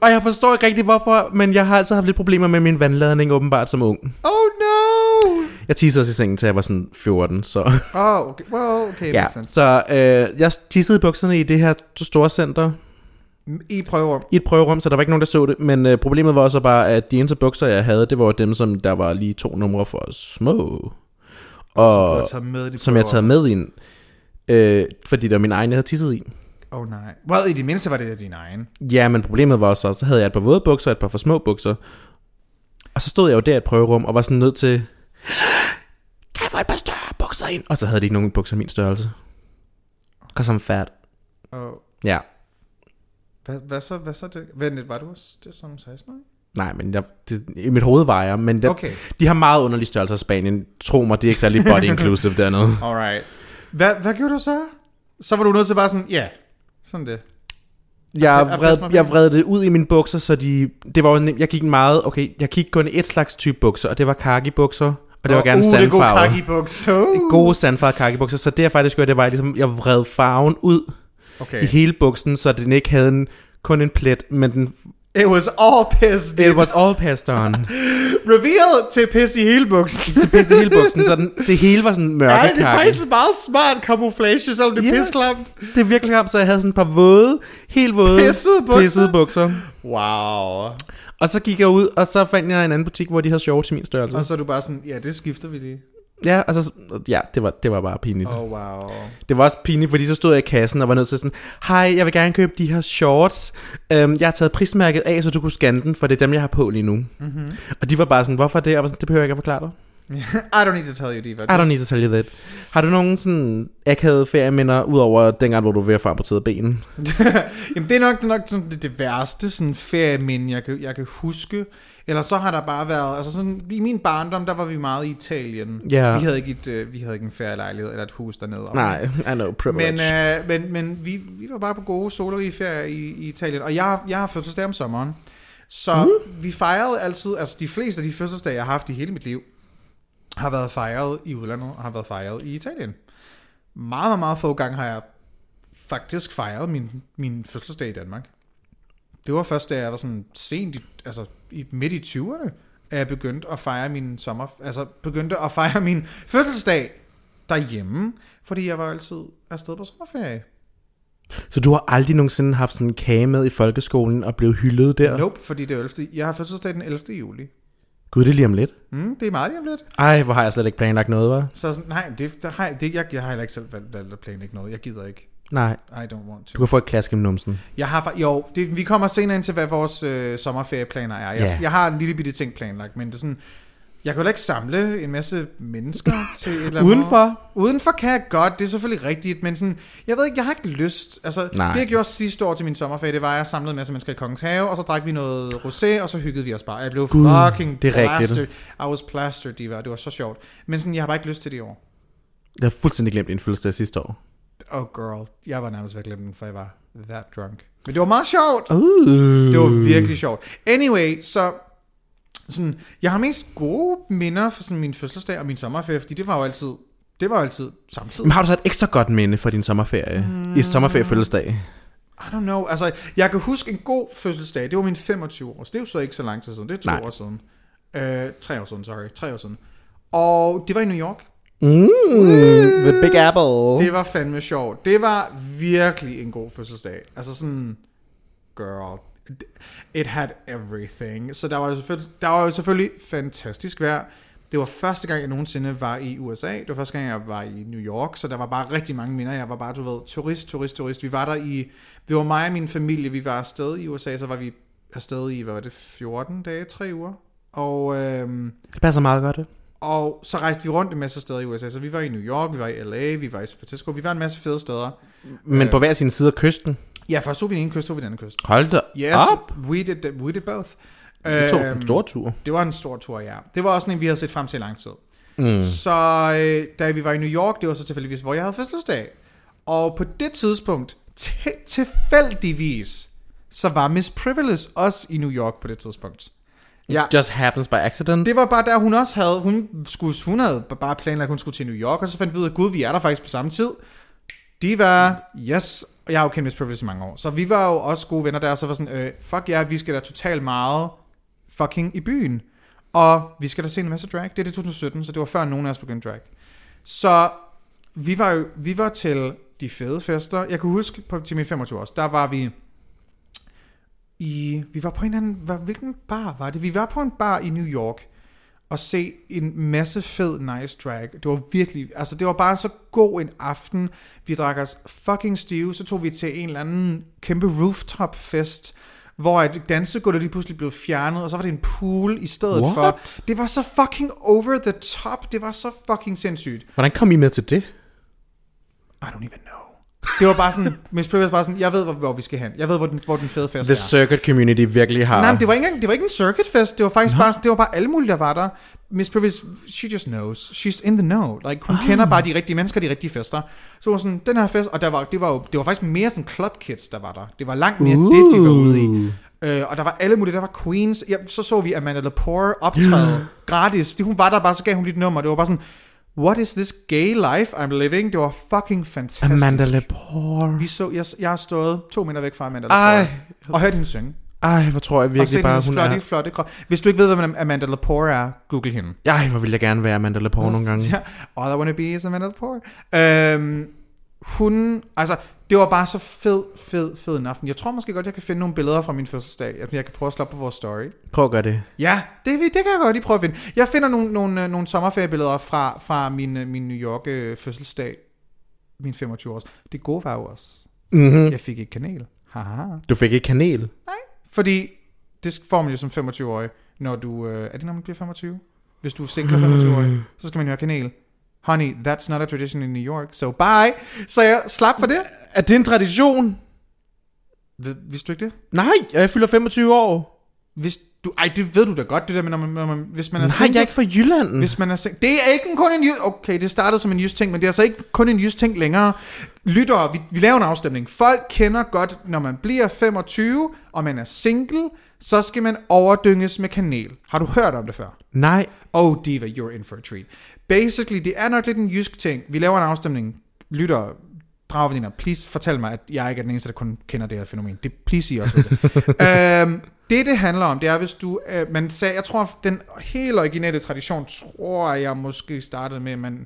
S2: Og jeg forstår ikke rigtig hvorfor, men jeg har altså haft lidt problemer med min vandladning åbenbart som ung.
S1: oh no!
S2: Jeg tissede også i sengen, til jeg var sådan 14, så...
S1: Oh, okay. Well, okay,
S2: ja,
S1: makes sense.
S2: så øh, jeg tissede i bukserne i det her store center,
S1: I prøver.
S2: i et prøverum, så der var ikke nogen, der så det. Men øh, problemet var også bare, at de eneste bukser, jeg havde, det var dem, som der var lige to numre for små.
S1: Og,
S2: Og
S1: som, taget med i de
S2: som jeg
S1: prøver.
S2: taget med ind, øh, fordi det var min egen, jeg havde tisset i.
S1: Oh nej. Well, i det mindste var det din egen.
S2: Ja, men problemet var også, så havde jeg et par våde bukser og et par for små bukser. Og så stod jeg jo der i et prøverum og var sådan nødt til... Kan jeg få et par større bukser ind? Og så havde de ikke nogen bukser af min størrelse. Cause I'm fat.
S1: Og
S2: Ja.
S1: hvad, hvad så, hvad så det? Vent lidt, var du også det som 16 år?
S2: Nej, men jeg, det, i mit hoved var jeg, men der, okay.
S1: Okay,
S2: de har meget underlige størrelser i Spanien. Tro mig, det er ikke særlig body inclusive dernede.
S1: alright. Hvad, hvad gjorde du så? Så var du nødt til bare sådan, ja, yeah. sådan det.
S2: Jeg
S1: Okay,
S2: vred,
S1: pas mig
S2: jeg
S1: på.
S2: vred det ud i mine bukser, så de, det var jo nem, jeg gik meget, okay, jeg gik kun i et slags type bukser, og det var khaki bukser, og det var gerne
S1: uh, det er god
S2: sandfarvet.
S1: kaki bukser. Uh.
S2: gode sandfarvede kakkebukser, så det jeg faktisk gjorde, det var, at jeg ligesom, jeg vred farven ud
S1: Uh. Okay.
S2: i hele buksen, så den ikke havde en, kun en plet, men den,
S1: It was all piss, dude.
S2: it was all passed on.
S1: Reveal til piss i hele buksen.
S2: så pisse hele buksen, så den, det hele var sådan
S1: Ja,
S2: mørke
S1: det er
S2: kakke.
S1: faktisk meget smart camouflage, selvom det er
S2: Ja.
S1: yeah. pisklamt.
S2: Det er virkelig ham, så jeg havde sådan et par våde, helt våde,
S1: Pissede bukser?
S2: pissede bukser.
S1: Wow.
S2: Og så gik jeg ud, og så fandt jeg en anden butik, hvor de havde sjove til min størrelse.
S1: Og så er du bare sådan, ja, det skifter vi lige.
S2: Ja, og så, ja det, var, det var bare pinligt.
S1: Oh, wow.
S2: Det var også pinligt, fordi så stod jeg i kassen og var nødt til sådan, hej, jeg vil gerne købe de her shorts. Øhm, jeg har taget prismærket af, så du kunne scanne den, for det er dem, jeg har på lige nu. Mm-hmm. Og de var bare sådan, hvorfor det? Og jeg var sådan, det behøver jeg ikke at forklare dig.
S1: I don't need to tell you, Diva.
S2: I don't need to tell you that. Har du nogen sådan akavede ferieminder, udover dengang, hvor du var ved at få amputeret ben?
S1: Jamen det er nok, det, er nok sådan, det, det værste sådan ferieminde, jeg kan, jeg kan huske. Eller så har der bare været, altså sådan, i min barndom, der var vi meget i Italien.
S2: Ja.
S1: Vi havde ikke et, øh, vi havde ikke en ferielejlighed eller et hus dernede.
S2: Nej, I know, privilege.
S1: Men, øh, men, men vi, vi var bare på gode solerige ferier i, i Italien, og jeg, jeg har fødselsdag om sommeren. Så mm. vi fejrede altid, altså de fleste af de fødselsdage, jeg har haft i hele mit liv, har været fejret i udlandet og har været fejret i Italien. Meget, meget, meget få gange har jeg faktisk fejret min, min fødselsdag i Danmark. Det var først, da jeg var sådan sent, i, altså i, midt i 20'erne, at jeg begyndte at fejre min sommer, altså begyndte at fejre min fødselsdag derhjemme, fordi jeg var altid afsted på sommerferie.
S2: Så du har aldrig nogensinde haft sådan en kage med i folkeskolen og blevet hyldet der?
S1: Nope, fordi det er 11. Jeg har fødselsdag den 11. juli.
S2: Gud, det er lige om lidt.
S1: Mm, det er meget lige om lidt.
S2: Ej, hvor har jeg slet ikke planlagt noget, hva'?
S1: Så sådan, nej, det, der har, jeg- det, jeg, jeg har heller ikke selv valgt at planlægge noget. Jeg gider ikke.
S2: Nej,
S1: I don't want
S2: du
S1: to.
S2: kan få et klask i numsen.
S1: Jeg har, fa- jo, det, vi kommer senere ind til, hvad vores øh, sommerferieplaner er. Jeg,
S2: Ja.
S1: jeg har en lille bitte ting planlagt, men det er sådan... Jeg kan jo heller ikke samle en masse mennesker til et eller andet.
S2: Udenfor?
S1: Udenfor kan jeg godt, det er selvfølgelig rigtigt, men sådan, jeg ved ikke, jeg har ikke lyst. Altså,
S2: Nej.
S1: det jeg gjorde sidste år til min sommerferie, det var, at jeg samlede en masse mennesker i Kongens Have, og så drak vi noget rosé, og så hyggede vi os bare. Jeg blev
S2: Gud,
S1: fucking
S2: det er rigtigt.
S1: plastered. I was plastered, diva, og det var så sjovt. Men sådan, jeg har bare ikke lyst til det i år.
S2: Jeg har fuldstændig glemt en fødselsdag sidste år.
S1: Oh girl, jeg var nærmest ved at glemme den, for jeg var that drunk. Men det var meget sjovt.
S2: Uh.
S1: Det var virkelig sjovt. Anyway, så sådan, jeg har mest gode minder fra sådan min fødselsdag og min sommerferie, fordi det var jo altid, det var jo altid samtidig.
S2: Men har du så et ekstra godt minde for din sommerferie? Mm. I sommerferiefødselsdag?
S1: I don't know. Altså, jeg kan huske en god fødselsdag. Det var min 25 år. Det er jo så ikke så lang tid siden. Det er to
S2: Nej.
S1: Nej. år siden. Øh, tre år siden, sorry. Tre år siden. Og det var i New York.
S2: Mm, the Big Apple.
S1: Det var fandme sjovt. Det var virkelig en god fødselsdag. Altså sådan, girl, it had everything. Så der var jo selvfølgelig, der var jo selvfølgelig fantastisk vejr. Det var første gang, jeg nogensinde var i USA. Det var første gang, jeg var i New York, så der var bare rigtig mange minder. Jeg var bare, du ved, turist, turist, turist. Vi var der i, det var mig og min familie, vi var afsted i USA, så var vi afsted i, hvad var det, 14 dage, 3 uger. Og øhm,
S2: Det passer meget godt. det.
S1: og så rejste vi rundt en masse steder i USA. Så vi var i New York, vi var i LA, vi var i San Francisco, vi var en masse fede steder.
S2: Men på hver sin side af kysten.
S1: Ja, først så vi den ene kyst, så vi den anden kyst.
S2: Øh. Hold da
S1: Yes,
S2: op.
S1: we did, that- we did both.
S2: Det tog
S1: Øhm,
S2: en stor tur.
S1: det var en stor tur, ja. Det var også sådan en, vi havde set frem til i lang tid.
S2: Mm.
S1: Så øh, da vi var i New York, det var så tilfældigvis, hvor jeg havde fødselsdag. Og på det tidspunkt, til- tilfældigvis, så var Miss Privilege også i New York på det tidspunkt. Ja.
S2: Just happens by accident.
S1: Det var bare der, hun også havde, hun, skulle, hun havde bare planlagt, at hun skulle til New York, og så fandt vi ud af, gud, vi er der faktisk på samme tid. De var, yes, og jeg har jo kendt Miss Privilege i mange år, så vi var jo også gode venner der, og så var sådan, øh, fuck ja, yeah, vi skal da totalt meget fucking i byen, og vi skal da se en masse drag. Det er det 2017, så det var før nogen af os begyndte drag. Så vi var jo, vi var til de fede fester. Jeg kan huske, på, til min 25 års, der var vi i, vi var på en anden, var, hvilken bar var det? Vi var på en bar i New York, og se en masse fed nice drag. Det var virkelig, altså det var bare så god en aften. Vi drak os fucking stive, så tog vi til en eller anden kæmpe rooftop fest, hvor et dansegulvet lige pludselig blev fjernet, og så var det en pool i stedet
S2: What?
S1: for. Det var så fucking over the top. Det var så fucking sindssygt.
S2: Hvordan kom I med til det?
S1: I don't even know. Det var bare sådan, Miss Privilege var bare sådan, jeg ved, hvor, hvor vi skal hen. Jeg ved, hvor den, hvor den fede fest
S2: The
S1: er.
S2: circuit community virkelig har...
S1: Nej, men det var ikke engang, det var ikke en circuitfest. Det var faktisk bare, det var bare alle mulige, der var der. Miss Privilege, she just knows. She's in the know. Like, hun
S2: Ah.
S1: kender bare de rigtige mennesker, de rigtige fester. Så hun var sådan, den her fest, og der var, det var jo, det var faktisk mere sådan club kids, der var der. Det var langt mere uh. det, vi var ude i. Øh, og der var alle mulige, der var queens. Ja, så så vi Amanda Lepore optræde gratis. Fordi hun var der bare, så gav hun lige et nummer. Det var bare sådan, what is this gay life I'm living? Det var fucking fantastisk.
S2: Amanda Lepore.
S1: Vi så, jeg, jeg har stået to meter væk fra Amanda Lepore.
S2: Ej,
S1: Og hørt hende synge.
S2: ej, hvor tror jeg
S1: Og set
S2: virkelig bare,
S1: hendes
S2: hun
S1: flotte,
S2: er...
S1: flotte krop. Hvis du ikke ved, hvem Amanda Lepore er, google hende.
S2: Ej, hvor ville jeg gerne være Amanda Lepore nogle gange.
S1: Ja. All I wanna be is Amanda Lepore. Øhm, hun, altså, det var bare så fed, fed, fed en aften. Jeg tror måske godt, jeg kan finde nogle billeder fra min fødselsdag. at Jeg kan prøve at slå op på vores story.
S2: Prøv at gøre det.
S1: Ja, det, det kan jeg godt lige prøve at finde. Jeg finder nogle, nogle, øh, nogle sommerferiebilleder fra, fra min, øh, min New York øh, fødselsdag. Min 25 års. Det gode var jo også,
S2: Mm-hmm.
S1: jeg fik ikke kanel. Haha.
S2: Du fik ikke kanel.
S1: Fordi det får man jo som 25-årig, når du... Øh, er det, når man bliver 25? Hvis du er single
S2: Øh.
S1: 25-årig, så skal man jo have kanel. Honey, that's not a tradition in New York, so bye. Så jeg slap for det.
S2: Er det en tradition?
S1: Ved- Vidste du ikke det?
S2: Nej, jeg fylder 25 år.
S1: Hvis du, ej, det ved du da godt, det der med, når man, når man, hvis man er
S2: Nej,
S1: single.
S2: jeg er ikke fra Jylland.
S1: Hvis man er single. Det er ikke kun en jys... Okay, det startede som en jys ting, men det er altså ikke kun en jys ting længere. Lyttere, vi, vi laver en afstemning. Folk kender godt, når man bliver 25, og man er single, så skal man overdynges med kanel. Har du hørt om det før?
S2: Nej.
S1: Oh, diva, you're in for a treat. Basically, det er nok lidt en jysk ting. Vi laver en afstemning. Lytter, dragveninder, please fortæl mig, at jeg ikke er den eneste, der kun kender det her fænomen. Det please sig også ved det. øhm, det, det handler om, det er, hvis du... Øh, man sagde, jeg tror, den helt originale tradition, tror jeg måske startede med, at man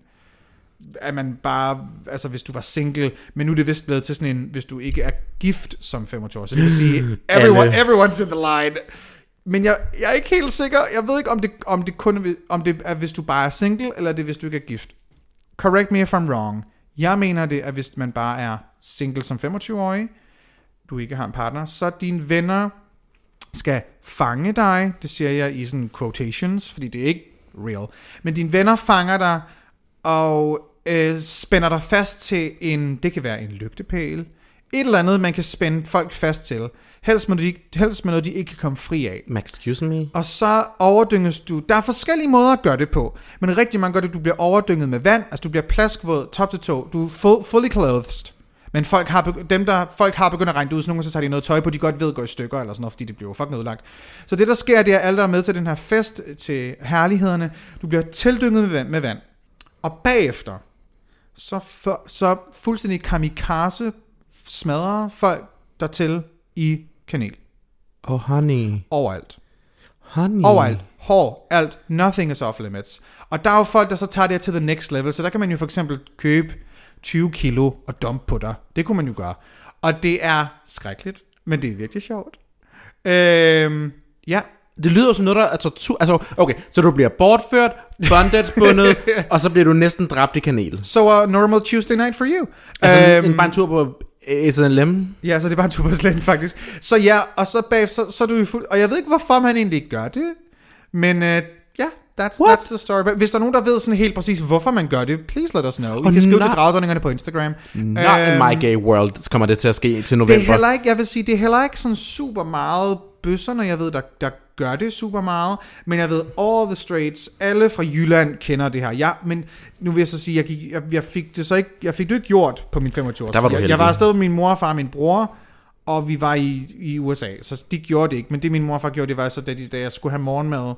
S1: at man bare, altså hvis du var single, men nu er det vist blevet til sådan en, hvis du ikke er gift som 25 år, så det vil sige, everyone,
S2: Alle.
S1: everyone's in the line. Men jeg, jeg er ikke helt sikker, jeg ved ikke, om det, om det kun er ved- om det er, hvis du bare er single, eller det er, hvis du ikke er gift. Correct me if I'm wrong. Jeg mener det, at hvis man bare er single som 25-årig, du ikke har en partner, så dine venner skal fange dig, det siger jeg i sådan quotations, fordi det er ikke real, men dine venner fanger dig og øh, spænder dig fast til en, det kan være en lygtepæl, et eller andet, man kan spænde folk fast til, helst med, de, helst med noget, de ikke kan komme fri af.
S2: Excuse me.
S1: Og så overdynges du. Der er forskellige måder at gøre det på. Men rigtig mange gør det, du bliver overdynget med vand. Altså du bliver plaskvåd, top til tå. Du er full, fully clothed. Men folk har, beg- dem, der, folk har begyndt at regne det ud, så nogle gange så tager de noget tøj på, de godt ved går i stykker, eller sådan noget, fordi det bliver jo fucking ødelagt. Så det, der sker, det er, at alle, der er med til den her fest, til herlighederne, du bliver tildynget med vand, med vand. Og bagefter, så, for, så fuldstændig kamikaze smadrer folk dertil i kanel.
S2: Oh, honey.
S1: Overalt.
S2: Honey.
S1: Overalt. Hår, alt. Nothing is off limits. Og der er jo folk, der så tager det her til the next level, så der kan man jo for eksempel købe 20 kilo og dump på dig. Det kunne man jo gøre. Og det er skrækkeligt, men det er virkelig sjovt. Øhm, ja,
S2: Det lyder som noget, der er tortur. Altså, okay, så du bliver bortført, bondagebundet, og så bliver du næsten dræbt i kanel.
S1: so a normal Tuesday night for you.
S2: Altså, øhm, en, bare en tur på S&M.
S1: Ja, så det er bare en tur på sletten, faktisk. Så ja, og så bag, så, så er du i fuld... Og jeg ved ikke, hvorfor man egentlig ikke gør det, men øh, ja, that's,
S2: What?
S1: that's the story. But Hvis der er nogen, der ved sådan helt præcis, hvorfor man gør det, please let us know. I
S2: Og
S1: kan skrive
S2: nej-
S1: til dragdonningerne på Instagram. Øh,
S2: Not in my gay world kommer det til at ske til november.
S1: Øhm. Det er heller ikke, jeg vil sige, det er heller ikke sådan super meget bøsserne, jeg ved, der, der gør det super meget, men jeg ved, all the straights, alle fra Jylland kender det her. Ja, men nu vil jeg så sige, jeg, gik, jeg, jeg fik det så ikke, jeg fik det ikke gjort på min 25 års
S2: Der var du
S1: jeg, jeg
S2: heldig.
S1: var afsted med min mor og far og min bror, og vi var i, i USA, så de gjorde det ikke, men det min mor og far gjorde, det var så, da, de, da jeg skulle have morgenmad,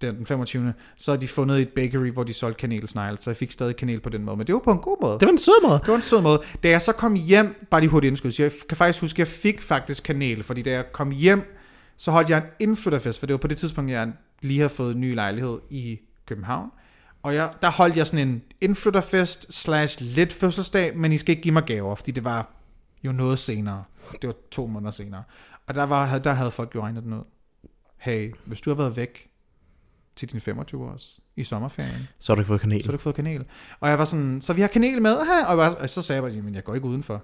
S1: den den 25. så havde de fundet et bakery, hvor de solgte kanelsnegle, så jeg fik stadig kanel på den måde, men det var på en god måde.
S2: det var en sød måde.
S1: Det var en sød måde. Da jeg så kom hjem, bare lige hurtigt indskud, så jeg kan faktisk huske, at jeg fik faktisk kanel, fordi da jeg kom hjem, så holdt jeg en indflytterfest, for det var på det tidspunkt, jeg lige havde fået en ny lejlighed i København. Og jeg, der holdt jeg sådan en indflytterfest slash lidt fødselsdag, men I skal ikke give mig gaver, fordi det var jo noget senere. Det var to måneder senere. Og der, var, der havde folk jo regnet den ud. Hey, hvis du har været væk til din 25-års i sommerferien,
S2: Så har du ikke fået kanel.
S1: så har du ikke fået kanel. Og jeg var sådan, så vi har kanel med, aha. og, jeg var, og så sagde jeg bare, jamen jeg går ikke udenfor.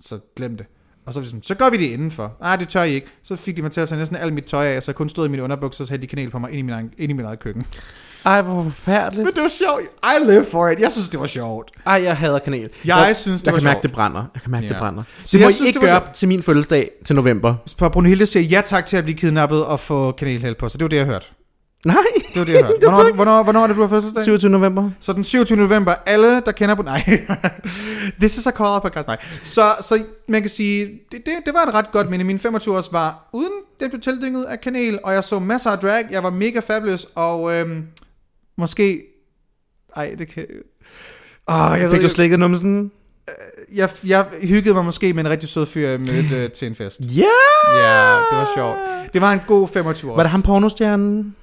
S1: Så glem det. Og så var de sådan, så gør vi det indenfor. Nej, det tør I ikke. Så fik de mig til at tage næsten alt mit tøj af, så jeg kun stod i mine underbukser, så havde de kanel på mig ind i min egen, ind i min egen køkken.
S2: Ej, hvor forfærdeligt.
S1: Men det var sjovt. I live for it. Jeg synes, det var sjovt.
S2: Ej, jeg hader kanel.
S1: Jeg
S2: jeg
S1: synes, det
S2: jeg
S1: var
S2: kan mærke,
S1: sjovt.
S2: det brænder. Jeg kan mærke,
S1: Ja.
S2: det brænder.
S1: Så
S2: Det må
S1: jeg
S2: I
S1: synes,
S2: ikke
S1: det var
S2: gøre til min fødselsdag til november.
S1: For Brunhilde siger ja tak til at blive kidnappet og få kanelhæld på, så det var det, jeg hørte.
S2: Nej,
S1: Det var det, jeg hørte. Hvornår, hvornår, hvornår er det, du har fødselsdag?
S2: 27. november.
S1: Så den 27. november, alle der kender på... Nej, this is a call podcast, nej. Så, så man kan sige, det, det, det var et ret godt minde. Min 25 års var uden, det blev tildynget af kanel, og jeg så masser af drag, jeg var mega fabulous, og øhm, måske... Ej, det kan... Åh, jeg, ved,
S2: Fik du
S1: jeg,
S2: slikket numsen?
S1: jeg, jeg hyggede mig måske med en rigtig sød fyr, jeg mødte øh, til en fest.
S2: Ja!
S1: Ja, det var sjovt. Det var en god 25 års.
S2: Var det ham pornostjernen?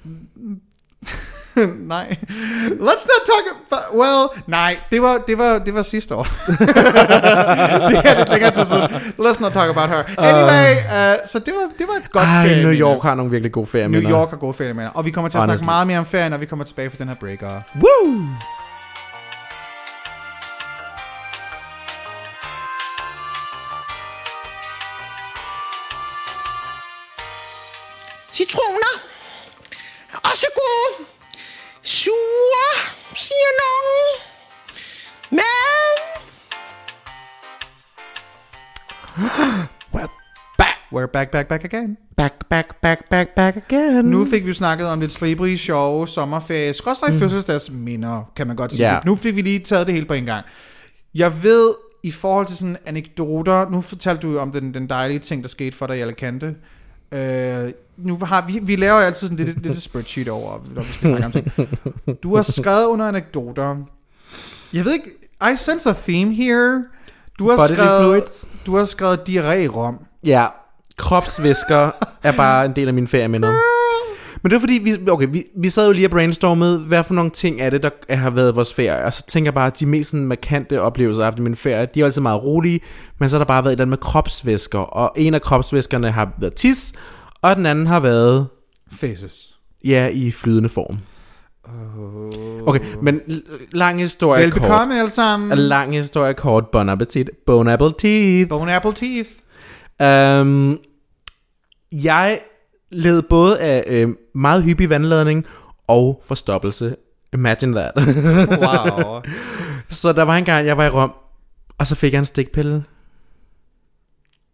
S1: nej. Let's not talk about... Well, nej, det var, det var, det var sidste år. det er lidt længere tid siden. Let's not talk about her. Anyway, uh, så det var, det var et godt
S2: Ej,
S1: ferieminde.
S2: Ah, New York har nogle virkelig gode ferier.
S1: New York har gode ferieminder. Og vi kommer til at
S2: Honestly.
S1: snakke meget mere om ferien, når vi kommer tilbage fra den her breaker.
S2: Woo!
S3: citroner. Også gode. Sure, siger nogen. Men
S1: We're back, back, back again.
S2: Back, back, back, back, back again.
S1: Nu fik vi jo snakket om lidt slibrige, sjove sommerferie. Skråstrej fødselsdagsminder, kan man godt sige.
S2: Mm. Ja.
S1: Nu fik vi lige taget det hele på en gang. Jeg ved, i forhold til sådan anekdoter, nu fortalte du jo om den, den dejlige ting, der skete for dig i Alicante. Øh, nu har vi, vi laver jo altid sådan lidt, lidt spreadsheet over, når vi skal snakke om ting. Du har skrevet under anekdoter. Jeg ved ikke, I sense a theme here. Du har,
S2: Bodily
S1: skrevet,
S2: fluids.
S1: du har skrevet diarré i Rom.
S2: Ja, kropsvæsker er bare en del af mine ferieminder. Men det er fordi, vi, okay, vi, vi sad jo lige og brainstormede, hvad for nogle ting er det, der har været vores ferie. Og så tænker jeg bare, at de mest sådan, markante oplevelser, jeg har haft i min ferie, de er jo altid meget rolige, men så har der bare været et eller andet med kropsvæsker. Og en af kropsvæskerne har været tis, og den anden har været,
S1: Faces.
S2: ja, i flydende form. Okay, men l- lang historie kort.
S1: Velbekomme alle sammen.
S2: Lang historie kort. Bon appetit. Bon appetit.
S1: Bone apple teeth.
S2: Um, jeg led både af øh, meget hyppig vandladning og forstoppelse. Imagine that.
S1: Wow.
S2: så der var en gang, jeg var i Rom, og så fik jeg en stikpille.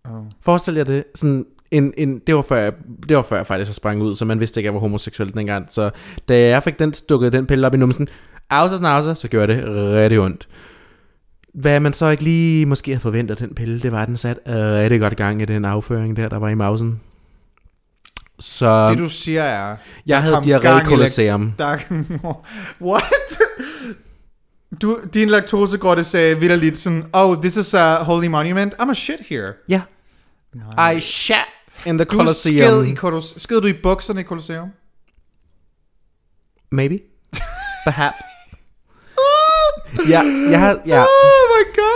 S1: Oh.
S2: Forestil jer det. Sådan en, en, det, var før jeg, det var før jeg faktisk så sprang ud, så man vidste ikke, at jeg var homoseksuel dengang. Så da jeg fik den stukket den pille op i numsen, afse snavse, så gjorde det rigtig ondt. Hvad man så ikke lige måske havde forventet af den pille, det var, at den satte rigtig godt gang i den afføring der, der var i mausen. Så
S1: Det du siger er...
S2: jeg havde
S1: kom gang i
S2: diarré
S1: lak-
S2: kolosseum.
S1: Der, what? Du, din laktosegrotte sagde vitterligt sådan, oh, this is a holy monument, I'm a shit here.
S2: Ja. I shat in the
S1: Du sked,
S2: colosseum.
S1: i kolos, sked du i bukserne i Colosseum?
S2: Maybe. Perhaps. ja, jeg har... Ja.
S1: Oh my god!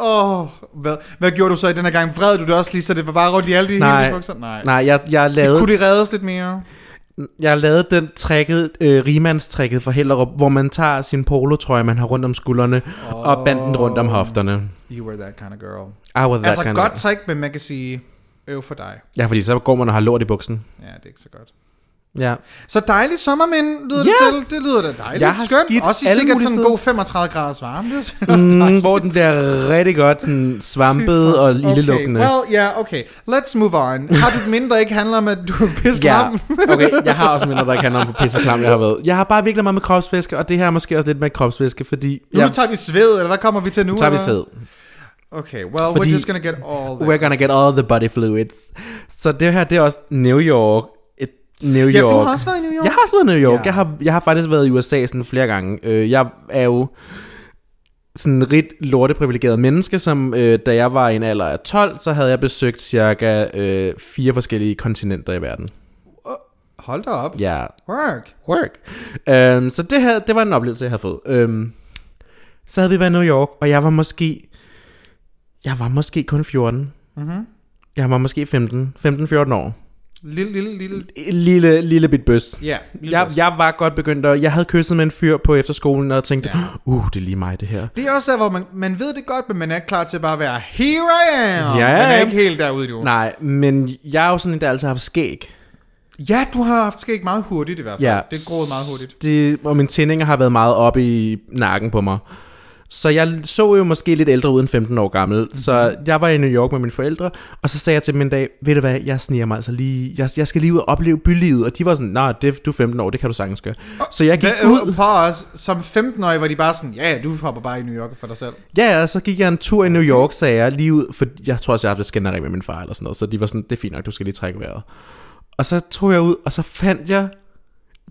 S1: Oh, hvad, hvad gjorde du så i den her gang? Vred du det også lige, så det var bare rundt i alle de
S2: Nej.
S1: hele bukser? Nej.
S2: Nej, jeg, jeg lavede...
S1: Kunne det reddes lidt mere?
S2: Jeg har lavet den trækket, øh, rimandstrækket fra Hellerup, hvor man tager sin polotrøje, man har rundt om skuldrene, oh. og banden den rundt om hofterne.
S1: You were that kind of girl.
S2: I was that
S1: altså
S2: kind of-
S1: godt trick, men man kan sige, øv for dig.
S2: Ja, fordi så går man og har lort i buksen.
S1: Ja, det er ikke så godt.
S2: Ja.
S1: Så dejlig sommermænd lyder
S2: Ja.
S1: yeah. det til. Det lyder da dejligt
S2: Jeg har
S1: skønt.
S2: skidt
S1: Også i
S2: alle
S1: sikkert
S2: mulige
S1: sådan en
S2: steder.
S1: god 35 graders varme. Det er også
S2: Mm,
S1: dejligt.
S2: hvor den der rigtig godt sådan, svampet og ildelukkende.
S1: Okay. Well, yeah, okay. Let's move on. Har du et mindre, der ikke handler om, at du er pisse
S2: Ja,
S1: klam?
S2: okay, jeg har også mindre, der ikke handler om, hvor pisse klam jeg har været. Jeg har bare virkelig meget med kropsvæske, og det her er måske også lidt med kropsvæske, fordi...
S1: Nu
S2: jeg,
S1: tager vi sved, eller hvad kommer vi til nu?
S2: tager vi
S1: eller?
S2: sæd.
S1: Okay, well,
S2: Fordi-
S1: we're just gonna get all that.
S2: We're gonna get all the body fluids. Så det her, det er også New York. Et New York.
S1: Ja, for du har også været i New York.
S2: Jeg har også været i New York.
S1: Ja.
S2: Ja. Jeg, har, jeg har faktisk været i USA sådan flere gange. Øh, Jeg er jo sådan en rigt lorteprivilegeret menneske, som øh, da jeg var i en alder af 12, så havde jeg besøgt cirka øh, fire forskellige kontinenter i verden.
S1: Hold da op.
S2: Ja,
S1: Work.
S2: work. Øhm, så det her, det var en oplevelse, jeg havde fået. Øhm, så havde vi været i New York, og jeg var måske, jeg var måske kun 14. Mm-hmm. Jeg var måske 15, 15-14 år.
S1: Lille, lille, lille.
S2: Lille, lille bit bøst.
S1: Ja, lille
S2: Jeg,
S1: bøs.
S2: jeg var godt begyndt, og jeg havde kysset med en fyr på efterskolen, og tænkte, ja. uh, det er lige mig, det her.
S1: Det er også der, hvor man, man ved det godt, men man er ikke klar til bare at være, here I am.
S2: Ja,
S1: man er
S2: ja.
S1: ikke helt derude, jo.
S2: Nej, men jeg er jo sådan en, der altid har haft skæg.
S1: Ja, du har haft skæg meget hurtigt i hvert fald. Det er groet meget hurtigt.
S2: Det, og mine tændinger har været meget oppe i nakken på mig. Så jeg så jo måske lidt ældre uden 15 år gammel.
S1: Mhm.
S2: Mm-hmm. Så jeg var i New York med mine forældre, og så sagde jeg til dem en dag, ved du hvad, jeg sniger mig altså lige, jeg, jeg skal lige ud og opleve bylivet. Og de var sådan, nej, det, du er 15 år, det kan du sagtens gøre. Så jeg gik
S1: Ah, Hvad,
S2: ud,
S1: ud. På os, som 15-årig var de bare sådan, ja, ja, du hopper bare i New York for dig selv.
S2: Ja, ja, så gik jeg en tur i New York, sagde jeg lige ud, for jeg tror også, jeg har haft et skænderi med min far eller sådan noget, så de var sådan, det er fint nok, du skal lige trække vejret. Og så tog jeg ud, og så fandt jeg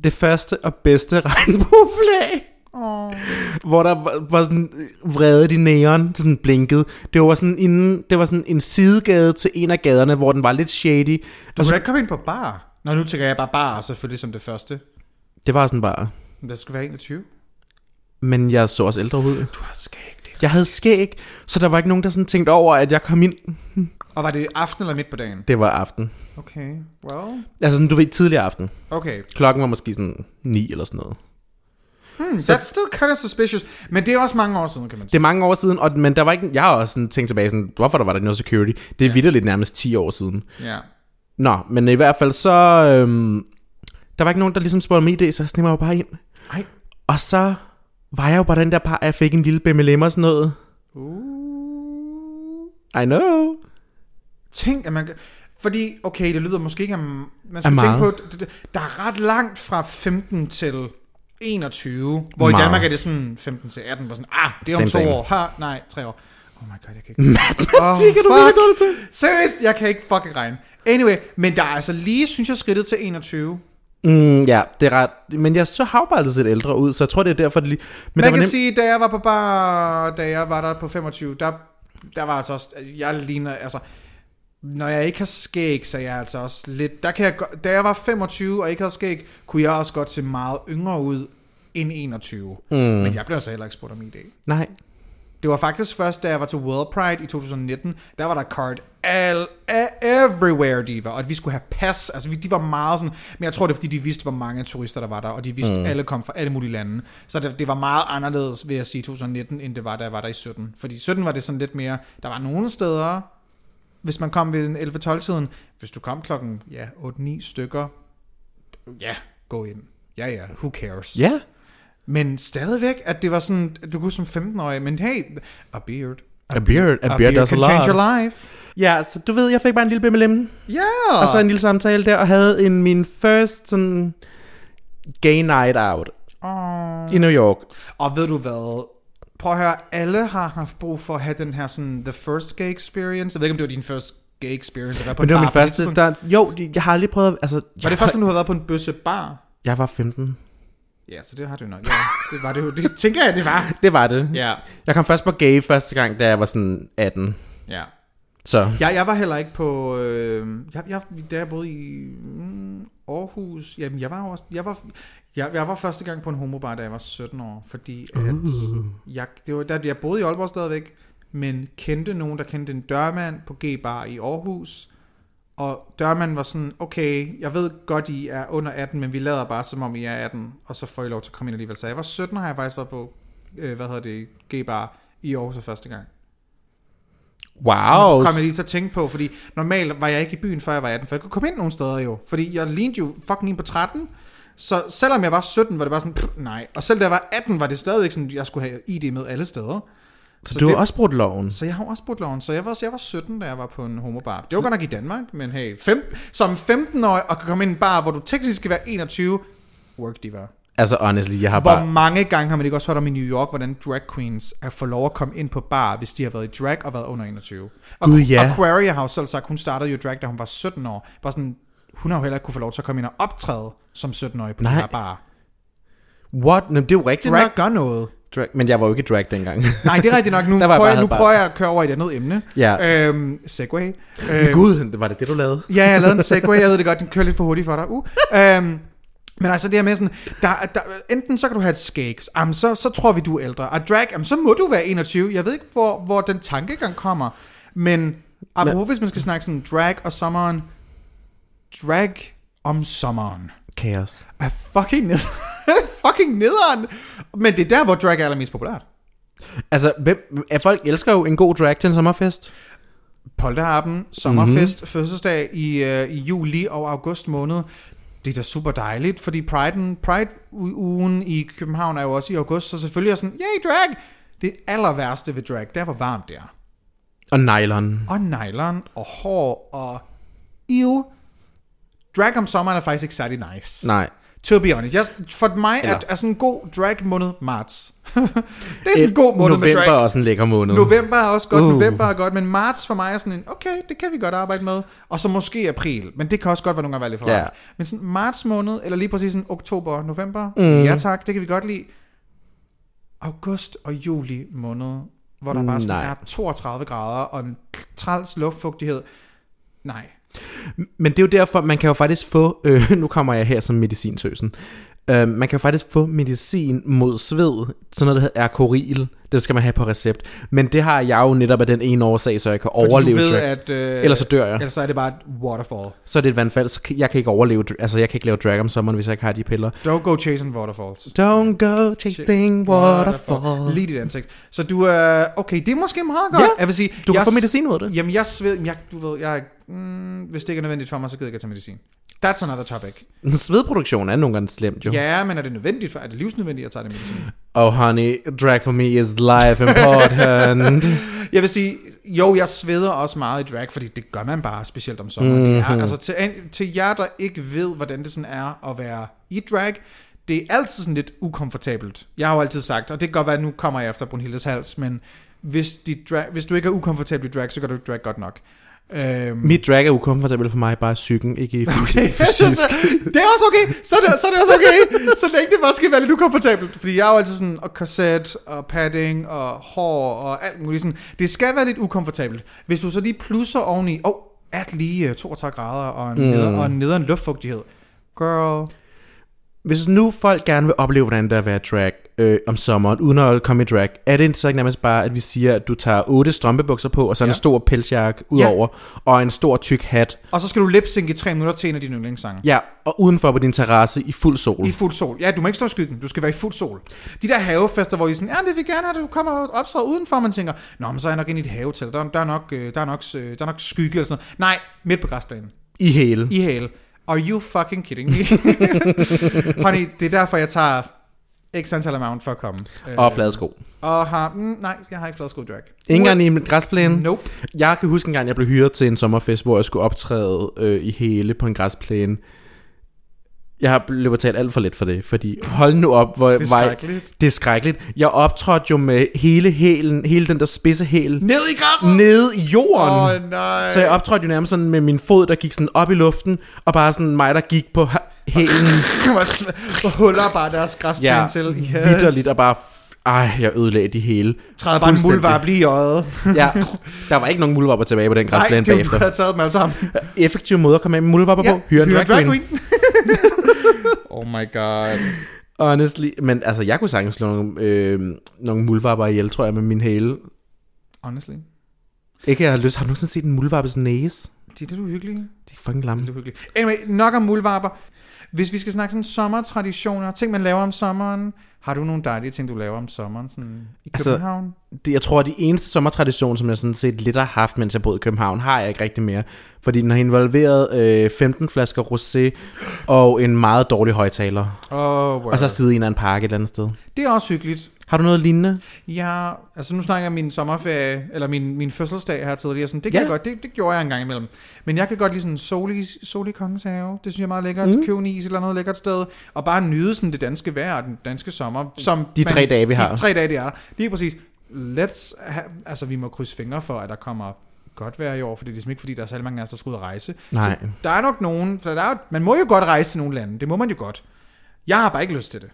S2: det første og bedste regnbueflag.
S1: Åh.
S2: Hvor der var, var sådan vrede i næren, sådan blinkede. Det var sådan, inden, det var sådan en sidegade til en af gaderne, hvor den var lidt shady.
S1: Du kunne da ikke komme ind på bar. Nå, nu tænker jeg bare bar, selvfølgelig som det første.
S2: Det var sådan bare,
S1: Men Der skulle være 21.
S2: men jeg så også ældre ud.
S1: Du har skæg, det.
S2: Jeg havde skæg, så der var ikke nogen, der sådan tænkte over, at jeg kom ind.
S1: Og var det aften eller midt på dagen?
S2: Det var aften.
S1: Okay, well,
S2: Altså sådan, du ved, tidligere aften.
S1: okay.
S2: Klokken var måske sådan 9 eller sådan noget.
S1: Hmm, that's still kind of suspicious. Men det er også mange år siden, kan man sige.
S2: Det er mange år siden, og, men der var ikke, jeg har også sådan tænkt tilbage, sådan, hvorfor der var der ikke noget security? Det er ja. vidderligt nærmest 10 år siden.
S1: Ja.
S2: Nå, men i hvert fald så, øhm, der var ikke nogen, der ligesom spurgte mig idé, så jeg sneg mig jo bare ind.
S1: Ej.
S2: Og så var jeg jo bare den der par, at jeg fik en lille BMLM og sådan noget.
S1: Uh.
S2: I know.
S1: Tænk, at man... kan- Fordi, okay, det lyder måske ikke... af m- Man skal
S2: Af
S1: tænke på,
S2: meget.
S1: at det- det- der er ret langt fra 15 til 21, hvor i
S2: Meget.
S1: Danmark er det sådan 15 til 18, hvor sådan, ah, det er om
S2: Same,
S1: to
S2: same.
S1: år, ha, nej, tre år. Oh my god, jeg kan ikke...
S2: Matematik
S1: Oh,
S2: er du virkelig
S1: fuck.
S2: dårlig til.
S1: Seriøst, jeg kan ikke fucking regne. Anyway, men der er altså lige, synes jeg, skridtet til 21.
S2: Mm, ja, det er ret. Men jeg så har jo bare altid set ældre ud, så jeg tror, det er derfor, det lige... Men
S1: Man
S2: det
S1: kan
S2: var
S1: nem...
S2: nem-
S1: sige, da jeg var på bar, da jeg var der på 25, der, der var altså også, jeg ligner, altså, når jeg ikke har skæg, så er jeg altså også lidt, der kan jeg, godt- da jeg var 25 og ikke havde skæg, kunne jeg også godt se meget yngre ud end 21. Mm. Men jeg blev altså heller ikke spurgt om i dag.
S2: Nej.
S1: Det var faktisk først, da jeg var til World Pride i 2019, der var der card all, a- everywhere, diva, og at vi skulle have pas. Altså, vi- de var meget sådan... Men jeg tror, det er, fordi de vidste, hvor mange turister, der var der, og de vidste, mm. alle kom fra alle mulige lande. Så det, det var meget anderledes, vil jeg sige, i 2019, end det var, da jeg var der i 17. Fordi i 17 var det sådan lidt mere... Der var nogle steder, hvis man kom ved den 11-12-tiden, hvis du kom klokken ja, 8-9 stykker, ja, gå ind. Ja, ja, who cares?
S2: Ja.
S1: Men stadigvæk, at det var sådan, at du kunne som 15-årig, men hey, a beard.
S2: A beard, a beard does a
S1: can change
S2: lot.
S1: your life.
S2: Ja, så du ved, jeg fik bare en lille bimmelim.
S1: Ja. Yeah.
S2: Og så Altså en lille samtale der, og havde en min first sådan gay night out
S1: oh.
S2: i New York.
S1: Og ved du hvad? Prøv at høre, alle har haft brug for at have den her sådan, the first gay experience. Jeg ved ikke, om det var din første gay experience. At være på
S2: Men
S1: en
S2: det var min
S1: bar på det
S2: første
S1: tidspunkt.
S2: dans. Jo, jeg har aldrig prøvet... Altså,
S1: Var
S2: jeg,
S1: det første, gang, du havde været på en bøssebar?
S2: jeg var 15.
S1: Ja, så det har du nok. Ja, det var det jo. Det tænker jeg, det var.
S2: Det var det.
S1: Ja,
S2: Jeg kom først på gay første gang, da jeg var sådan 18.
S1: ja.
S2: Så
S1: Jeg, jeg var heller ikke på... Øh, jeg, jeg, da jeg boede i mm, Aarhus... Jamen, jeg var jo også... Jeg var, jeg, jeg var første gang på en homobar, da jeg var 17 år, fordi at... Jeg, det var, der, jeg boede i Aalborg stadigvæk, men kendte nogen, der kendte en dørmand på G-bar i Aarhus. Og dørmanden var sådan, okay, jeg ved godt, I er under 18, men vi lader bare, som om I er 18, og så får I lov til at komme ind alligevel. Så jeg var 17, og har jeg faktisk været på, øh, hvad hedder det, G-bar i Aarhus for første gang
S2: wow.
S1: kom jeg lige til at tænke på, fordi normalt var jeg ikke i byen, før jeg var 18, for jeg kunne komme ind nogle steder jo, fordi jeg lignede jo fucking ind på 13, så selvom jeg var 17, var det bare sådan, pff, nej, og selv da jeg var 18, var det stadigvæk sådan, jeg skulle have ID med alle steder.
S2: Så du har
S1: det-
S2: også brugt loven.
S1: Så jeg har jo også brudt loven, så jeg var, jeg var 17, da jeg var på en homobar. Det var godt nok i Danmark, men hey, fem, som 15-årig og kan komme ind i en bar, hvor du teknisk skal være 21, work diva.
S2: Altså, honestly, jeg har
S1: Hvor
S2: bare...
S1: mange gange har man ikke også hørt om i New York, hvordan drag queens er får lov at komme ind på bar, hvis de har været i drag og været under 21? Og,
S2: Gud, ja.
S1: Aquaria har jo selv sagt, hun startede jo drag, da hun var 17 år. Bare sådan, hun har jo heller ikke kunne få lov til at komme ind og optræde som 17-årig på Nej.
S2: Nej.
S1: de her bar.
S2: What? Nå, det er jo rigtigt
S1: Drag
S2: nok.
S1: gør noget.
S2: Drag. Men jeg var jo ikke drag dengang.
S1: Nej, det er rigtigt nok. Nu,
S2: Der var jeg
S1: prøver,
S2: bare-
S1: nu
S2: bare-
S1: prøver jeg at køre over i et andet emne.
S2: Ja.
S1: Øhm, segway.
S2: Øh. Gud, var det det, du lavede?
S1: Ja, jeg lavede en segway, jeg ved det godt, den kører lidt for hurtigt for dig. Uh. Øhm, men altså det her med sådan, der, der, enten så kan du have et skæg, jamen, så, så tror vi, du er ældre. Og drag, jamen, så må du være 21. Jeg ved ikke, hvor, hvor den tankegang kommer. Men apropos, hvis man skal snakke sådan drag og sommeren, drag om sommeren
S2: Kaos.
S1: er fucking, ned, fucking nederen. Men det er der, hvor drag er allermest populært.
S2: Altså, hvem, er folk elsker jo en god drag til en sommerfest.
S1: Polterappen, sommerfest,
S2: Mhm.
S1: mm-hmm. fødselsdag i, øh, i juli og august måned. Det er da super dejligt, fordi Pride'en, Pride-ugen i København er jo også i august, så selvfølgelig er jeg sådan, yay, drag! Det aller værste ved drag, det er, hvor varmt det er.
S2: Og nylon.
S1: Og nylon, og hår, og ew. Drag om sommeren er faktisk ikke særlig nice.
S2: Nej.
S1: To be honest. Jeg, for mig er,
S2: Eller-
S1: er sådan en god drag måned marts. det er sådan en god måned med
S2: November
S1: drag.
S2: er også en lækker måned.
S1: November er også godt,
S2: Uh.
S1: uh. november er godt, men marts for mig er sådan en, okay, det kan vi godt arbejde med. Og så måske april, men det kan også godt være nogle gange være lidt for
S2: Ja.
S1: yeah. Men sådan marts måned, eller lige præcis sådan oktober, november, mm. ja tak, det kan vi godt lide. August og juli måned, hvor der bare sådan
S2: Nej.
S1: er 32 grader og en træls luftfugtighed. Nej.
S2: Men det er jo derfor, man kan jo faktisk få, øh, nu kommer jeg her som medicintøsen, øh, man kan jo faktisk få medicin mod sved, sådan noget, der hedder Erkoril, det skal man have på recept. Men det har jeg jo netop af den ene årsag, så jeg kan
S1: Fordi
S2: overleve
S1: du ved,
S2: drag.
S1: at... Øh,
S2: Ellers så dør jeg.
S1: Ellers så er det bare et waterfall.
S2: Så er det et vandfald, så kan- jeg kan ikke overleve, dr- altså jeg kan ikke lave drag om sommeren, hvis jeg ikke har de piller.
S1: Don't go chasing waterfalls.
S2: Don't go chasing waterfalls.
S1: Lige dit ansigt. Så du er... Okay, det er måske meget godt.
S2: Ja,
S1: jeg vil sige,
S2: Du kan
S1: jeg
S2: få medicin mod det.
S1: Jamen, jeg sved... Jeg, du ved, jeg... Mm, hvis det ikke er nødvendigt for mig, så gider jeg ikke at tage medicin. That's another topic.
S2: Svedproduktion er nogle gange slemt jo.
S1: Ja, men er det nødvendigt for... Er det livsnødvendigt at tage det medicin?
S2: Oh honey, drag for me is life important.
S1: Jeg vil sige, jo, jeg sveder også meget i drag, fordi det gør man bare, specielt om sommeren. Mm-hmm. Det er, altså til, til jer, der ikke ved, hvordan det sådan er at være i drag, det er altid sådan lidt ukomfortabelt. Jeg har jo altid sagt, og det kan godt være, at nu kommer jeg efter Brunhildes hals, men hvis, dit drag, hvis du ikke er ukomfortabel i drag, så gør du ikke drag godt nok. Øhm,
S2: Mit drag er ukomfortabelt for mig, bare i psyken, ikke i fysisk.
S1: Okay, så- det er også okay. Så er det, så er det også okay. Så længe det bare skal være lidt ukomfortabelt. Fordi jeg er jo altid sådan, og korset, og padding, og hår, og alt muligt sådan. Det skal være lidt ukomfortabelt. Hvis du så lige plusser oveni, åh, oh, at lige øh, 32 grader, og en, mm. neder, og en nederen luftfugtighed. Girl.
S2: Hvis nu folk gerne vil opleve, hvordan det er at være drag øh, om sommeren, uden at komme i drag, er det så ikke nærmest bare, at vi siger, at du tager otte strømpebukser på, og så ja. en stor pelsjakke udover, ja. og en stor tyk hat,
S1: Og så skal du lipsynke i tre minutter til en af dine yndlingssange.
S2: ja, og udenfor på din terrasse i fuld sol?
S1: I fuld sol. Ja, du må ikke stå i skyggen. Du skal være i fuld sol. De der havefester, hvor I er sådan, ja, vi vil gerne have, at du kommer og optræder udenfor. Man tænker, nå, men så er jeg nok inde i et havetel. Der, der, er nok, øh, der, er nok, øh, der er nok skygge eller sådan noget. Nej, midt på græsplænen.
S2: I hele.
S1: I hale. Are you fucking kidding me? Honey, det er derfor, jeg tager x antal amount for at komme. Øh,
S2: Og fladsko.
S1: og har, mm, nej, jeg har ikke fladsko drag.
S2: Ingen gang i en græsplæne.
S1: Nope.
S2: Jeg kan huske en gang, jeg blev hyret til en sommerfest, hvor jeg skulle optræde øh, i hele på en græsplæne. Jeg har blevet betalt alt for lidt for det, fordi hold nu op, hvor det
S1: er skrækkeligt.
S2: det er skrækkeligt. Jeg optrådte jo med hele hælen, hele den der spidse hæl,
S1: Ned i græsset!
S2: ned i jorden.
S1: Åh, oh, nej.
S2: Så jeg optrådte jo nærmest sådan med min fod, der gik sådan op i luften, og bare sådan mig, der gik på h- hælen.
S1: kommer og sm- og huller bare deres græsplæne
S2: Ja,
S1: til. Yes.
S2: vidderligt, og bare... f- Ej, jeg ødelagde det hele.
S1: Træder bare en
S2: Fuldstændig.
S1: mulvarp lige i øjet.
S2: Ja, der var ikke nogen mulvapper tilbage på den
S1: Nej,
S2: græsplæne
S1: det er jo, du
S2: bagefter.
S1: havde taget dem alle sammen.
S2: Effektiv måde at komme af med mulvapper på. Hyre en drag queen.
S1: oh my god.
S2: Honestly, men altså, jeg kunne sagtens slå nogle, øh, nogle mulvarper ihjel, tror jeg, med min hæle.
S1: Honestly.
S2: Ikke, jeg har lyst. Har du nogensinde set en mulvarpes næse?
S1: Det er det, du er hyggelig.
S2: Det er fucking lamme.
S1: Det er hyggeligt. Anyway, nok om muldvarper. Hvis vi skal snakke sådan sommertraditioner, ting man laver om sommeren, har du nogle dejlige ting, du laver om sommeren sådan i
S2: Altså-
S1: København?
S2: Det, jeg tror, at de eneste sommertradition, som jeg sådan set lidt har haft, mens jeg boede i København, har jeg ikke rigtig mere. Fordi den har involveret øh, 15 flasker rosé og en meget dårlig højtaler.
S1: Oh, wow.
S2: Og så sidde i en af en park et eller andet sted.
S1: Det er også hyggeligt.
S2: Har du noget lignende?
S1: Ja, altså nu snakker jeg om min sommerferie, eller min, min fødselsdag her tidligere, sådan, det kan
S2: Ja.
S1: ja. jeg godt, det, det gjorde jeg en gang imellem. Men jeg kan godt lide sådan soli, soli kongens have, det synes jeg er meget lækkert, mm. købe en is eller noget lækkert sted, og bare nyde sådan det danske vejr og den danske sommer. Som
S2: De tre dage, vi har.
S1: De tre dage, det er der. Lige præcis. Let's have, altså vi må krydse fingre for, at der kommer godt vejr i år, for det er ligesom ikke fordi, der er særlig mange af os, der skal ud og rejse.
S2: Nej.
S1: Så der er nok nogen, så der er, man må jo godt rejse til nogle lande, det må man jo godt. Jeg har bare ikke lyst til det.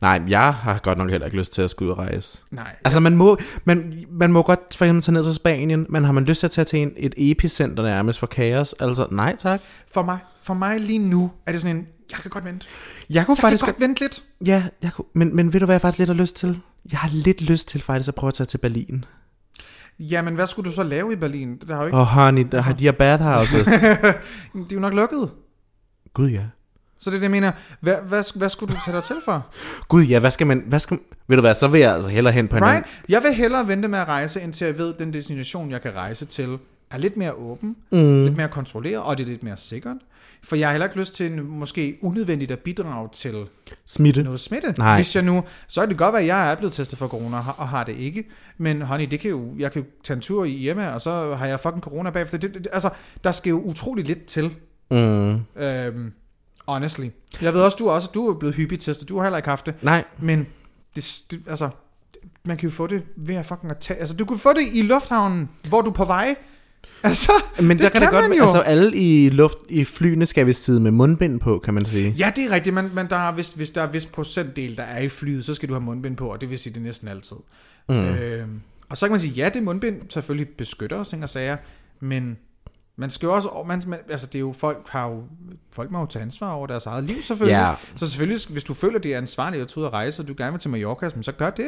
S2: Nej, jeg har godt nok heller ikke lyst til at skulle ud og rejse.
S1: Nej.
S2: Altså, man må, man, man må godt for eksempel tage ned til Spanien, men har man lyst til at tage til en, et epicenter nærmest for kaos? Altså, nej tak.
S1: For mig, for mig lige nu er det sådan en, jeg kan godt vente. Jeg
S2: Jeg kunne
S1: Faktisk
S2: faktisk...
S1: kan godt vente lidt.
S2: Ja, jeg kunne, men, men ved du, hvad jeg faktisk lidt har lyst til? Jeg har lidt lyst til faktisk at prøve at tage til Berlin.
S1: Jamen, hvad skulle du så lave i Berlin? Det, har jo ikke,
S2: Og oh, honey, der har de her bathhouses.
S1: det er jo nok lukket.
S2: Gud ja.
S1: Så det er det, jeg mener. Hvad, hvad, hvad skulle du tage dig til for?
S2: Gud ja, hvad skal man... Hvad skal, ved du hvad, så vil jeg altså hellere hen på en
S1: Right?
S2: anden...
S1: Jeg vil hellere vente med at rejse, indtil jeg ved, at den destination, jeg kan rejse til, er lidt mere åben, mm. lidt mere kontrolleret, og det er lidt mere sikkert. For jeg har heller ikke lyst til en, måske unødvendigt at bidrage til
S2: Smitte.
S1: noget smitte.
S2: Nej.
S1: Hvis jeg nu, så kan det godt være, at jeg er blevet testet for corona og har- og har det ikke. Men honey, det kan jo, jeg kan jo tage en tur i Irma, og så har jeg fucking corona bagefter. Det, det, det- altså, der skal jo utrolig lidt til.
S2: Mm.
S1: Øhm, honestly. Jeg ved også, du er også du er blevet hyppigt testet. Du har heller ikke haft det.
S2: Nej,
S1: Men det, det, altså, man kan jo få det ved at fucking at tage... Altså, du kunne få det i lufthavnen, hvor du er på vej. Altså,
S2: men det der kan,
S1: kan
S2: det godt
S1: man
S2: være...
S1: jo.
S2: Altså, alle i, luft, i flyene skal vi sidde med mundbind på, kan man sige.
S1: Ja, det er rigtigt, men, men der er, hvis, hvis der er vis procentdel, der er i flyet, så skal du have mundbind på, og det vil sige, det er næsten altid. Mm. Øh, og så kan man sige, ja, det mundbind selvfølgelig beskytter os, ting og sager, men man skal jo også, man, man, altså det er jo, folk har jo, folk må jo tage ansvar over deres eget liv selvfølgelig.
S2: Ja.
S1: Så selvfølgelig, hvis du føler, det er ansvarligt at tage ud og rejse, og du gerne vil til Mallorca, men så gør det.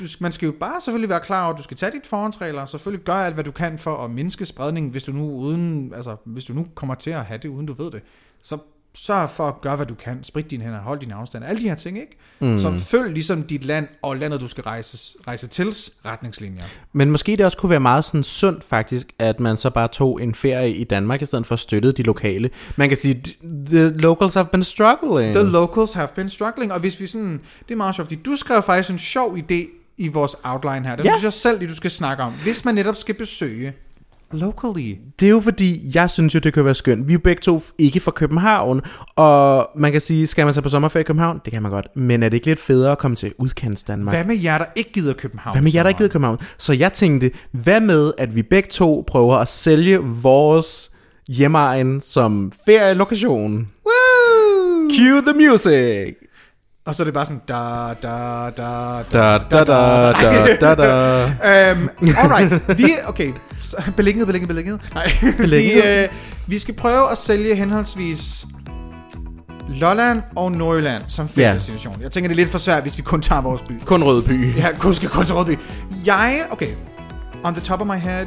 S1: Du, man skal jo bare selvfølgelig være klar over, at du skal tage dine forhåndsregler, og selvfølgelig gøre alt, hvad du kan for at mindske spredningen, hvis du nu, uden, altså, hvis du nu kommer til at have det, uden du ved det. Så sørg for at gøre, hvad du kan. Sprit dine hænder, hold din afstand, alle de her ting, ikke? Mm. Så følg ligesom dit land og landet, du skal rejse, rejse til retningslinjer.
S2: Men måske det også kunne være meget sådan sundt faktisk, at man så bare tog en ferie i Danmark, i stedet for at støtte de lokale. Man kan sige, the locals have been struggling.
S1: The locals have been struggling, og hvis vi sådan, det er meget sjovt, fordi du skrev faktisk en sjov idé i vores outline her. Det
S2: Ja.
S1: synes jeg selv, det du skal snakke om. Hvis man netop skal besøge locally.
S2: det er jo fordi, jeg synes jo, det kunne være skønt. Vi er begge to ikke fra København, og man kan sige, skal man så på sommerferie i København? Det kan man godt. Men er det ikke lidt federe at komme til udkants Danmark?
S1: Hvad med jer, der ikke gider København?
S2: Hvad med jer, der ikke gider
S1: sommeren?
S2: København? Så jeg tænkte, hvad med, at vi begge to prøver at sælge vores hjemmeegn som ferielokation? Woo! Cue the music!
S1: Og så er det bare sådan, da, da, da, da.
S2: Da, da, da, da, da, da.
S1: Øhm, alright, vi, okay, så- belinget, belinget, belinget. Nej,
S2: Belinget.
S1: vi, øh, vi skal prøve at sælge henholdsvis Lolland og Nordjylland som feriedestination. Jeg tænker, det er lidt for svært, hvis vi kun tager vores by.
S2: Kun Rødby. Ja.
S1: Ja, kun skal kun til Rødby. Jeg, okay, on the top of my head,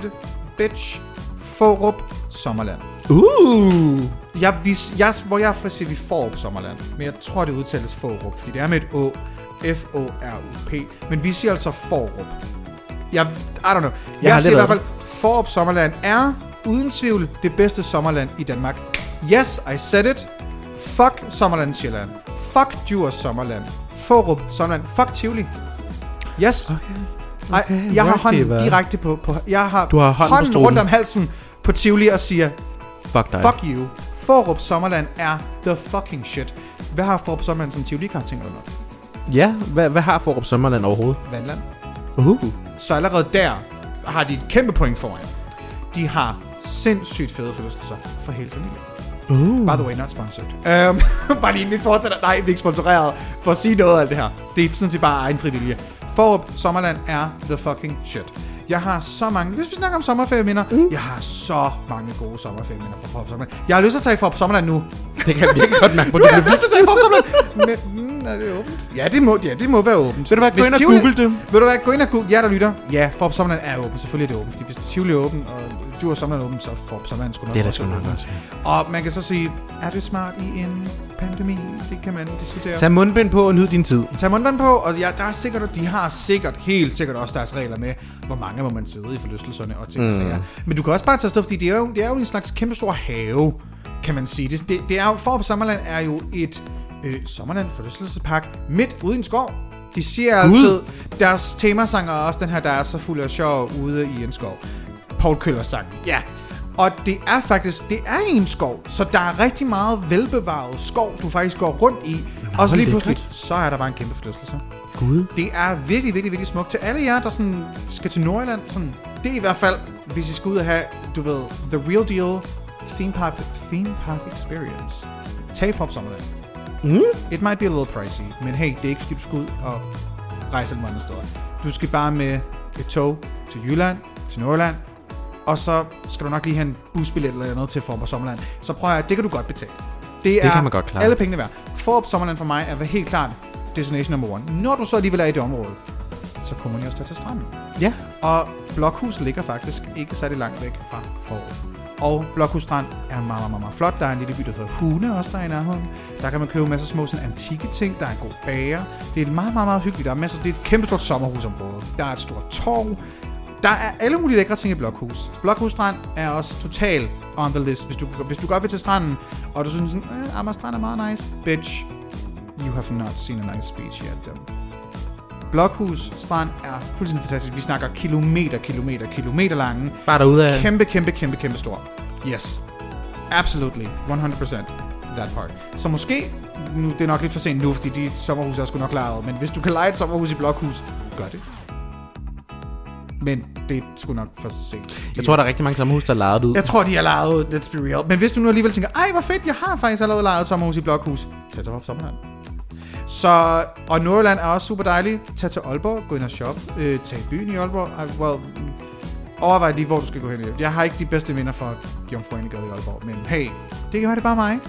S1: bitch, Forup, Sommerland.
S2: Uh!
S1: Jeg, vis, jeg, hvor jeg er fra, siger vi Forup Sommerland, men jeg tror, det udtales Forup, fordi det er med et Å. F-O-R-U-P. Men vi siger altså Forup. Jeg, I don't know. Jeg,
S2: har
S1: jeg siger i
S2: lidt
S1: hvert fald, Forup Sommerland er uden tvivl det bedste sommerland i Danmark. Yes, I said it. Fuck Sommerland Sjælland. Fuck Djurs Sommerland. Forup Sommerland. Fuck Tivoli. Yes. Okay. Okay, Ej, jeg har
S2: rigtig,
S1: hånden
S2: hva'?
S1: direkte på, på... Jeg har,
S2: Du har hånden på
S1: hånden
S2: stolen.
S1: rundt om halsen på Tivoli og siger,
S2: Fuck dig.
S1: Fuck you. Forup Sommerland er the fucking shit. Hvad har Forup Sommerland som tivoli kar tænker du nok?
S2: Ja, hvad, hvad har Forup Sommerland overhovedet?
S1: Vandland.
S2: Uh.
S1: Så allerede der har de et kæmpe point foran. De har sindssygt fede forlystelser for hele familien.
S2: Uh.
S1: By the way, not sponsored. Um, bare lige inden vi fortsætter. Nej, vi er ikke sponsoreret for at sige noget af alt det her. Det er sådan set bare egen frivillige. Forup Sommerland er the fucking shit. Jeg har så mange, hvis vi snakker om sommerferieminder, mm. jeg har så mange gode sommerferieminder fra Forup Sommerland. Jeg har lyst til at tage i Forup Sommerland nu.
S2: Det kan jeg virkelig godt mærke på
S1: Nu
S2: det.
S1: er jeg lyst til at tage popsamlet. Men mm, er det åbent? Ja, det må, ja, det må være åbent. Vil
S2: du hvad, gå ind og google det.
S1: Vil du hvad, gå ind og google. Ja, der lytter. Ja, Forbes Sommerland er åben. Selvfølgelig er det åbent. Fordi hvis Tivoli er åben, og du og Sommerland er åben, så er Forbes Sommerland sgu nok
S2: Det er da
S1: også
S2: sgu nok
S1: åben.
S2: også,
S1: Og man kan så sige, er det smart i en pandemi? Det kan man diskutere.
S2: Tag mundbind på og nyd din tid.
S1: Tag mundvand på, og ja, der er sikkert, de har sikkert, helt sikkert også deres regler med, hvor mange må man sidde i forlystelserne og ting mm. sager. Men du kan også bare tage afsted, fordi det er jo, det er jo en slags kæmpe stor have, kan man sige. Det, det, det er jo, Forup Sommerland er jo et øh, sommerland forlystelsespark midt ude i en skov. De siger altid, deres temasang er også den her, der er så fuld af sjov ude i en skov. Paul Køller sang. Ja. Og det er faktisk, det er en skov, så der er rigtig meget velbevaret skov, du faktisk går rundt i. og så lige
S2: lækkert.
S1: pludselig, så er der bare en kæmpe forlystelse.
S2: Gud.
S1: Det er virkelig, virkelig, virkelig smukt. Til alle jer, der sådan skal til Nordjylland, sådan, det er i hvert fald, hvis I skal ud og have, du ved, the real deal theme park, theme park experience. Tag for sommerland. Mm. It might be a little pricey, men hey, det er ikke fordi, du skal ud og rejse alle mulige andre steder. Du skal bare med et tog til Jylland, til Nordjylland, og så skal du nok lige have en busbillet eller noget til Form Sommerland. Så prøv at høre, det kan du godt betale. Det, det er
S2: kan man godt klare.
S1: alle pengene værd. Forop Sommerland for mig er helt klart destination number one. Når du så alligevel er i det område, så kommer man jo også tage til stranden.
S2: Ja.
S1: Og Blokhus ligger faktisk ikke særlig langt væk fra Forop. Og Blokhus Strand er meget, meget, meget flot. Der er en lille by, der hedder Hune også, der er i nærheden. Der kan man købe masser af små sådan, antikke ting. Der er en god bager. Det er meget, meget, meget hyggeligt. Der er masser, det er et kæmpe stort sommerhusområde. Der er et stort torv. Der er alle mulige lækre ting i Blokhus. Blokhus Strand er også total on the list. Hvis du, hvis du godt vil til stranden, og du synes sådan, øh, Amager Strand er meget nice, bitch, you have not seen a nice beach yet. Dem. Blokhus Strand er fuldstændig fantastisk. Vi snakker kilometer, kilometer, kilometer lange.
S2: Bare derude af...
S1: Kæmpe, kæmpe, kæmpe, kæmpe stor. Yes. Absolutely. 100%. That part. Så måske, nu det er nok lidt for sent nu, fordi de sommerhus er sgu nok lejet, men hvis du kan lege et sommerhus i Blokhus, gør det. Men det er sgu nok for sent.
S2: Jeg tror, der er rigtig mange sommerhus, der er lejet ud.
S1: Jeg tror, de har lejet ud. Let's be real. Men hvis du nu alligevel tænker, ej, hvor fedt, jeg har faktisk allerede lejet et sommerhus i Blokhus. Tag til Sommerland. Så, og Nordjylland er også super dejlig. Tag til Aalborg, gå ind og shop. Øh, tag i byen i Aalborg. Ej, well, mm, overvej lige, hvor du skal gå hen. i livet. Jeg har ikke de bedste minder fra Jomfru Anegade i Aalborg, men hey, det kan være det er bare mig.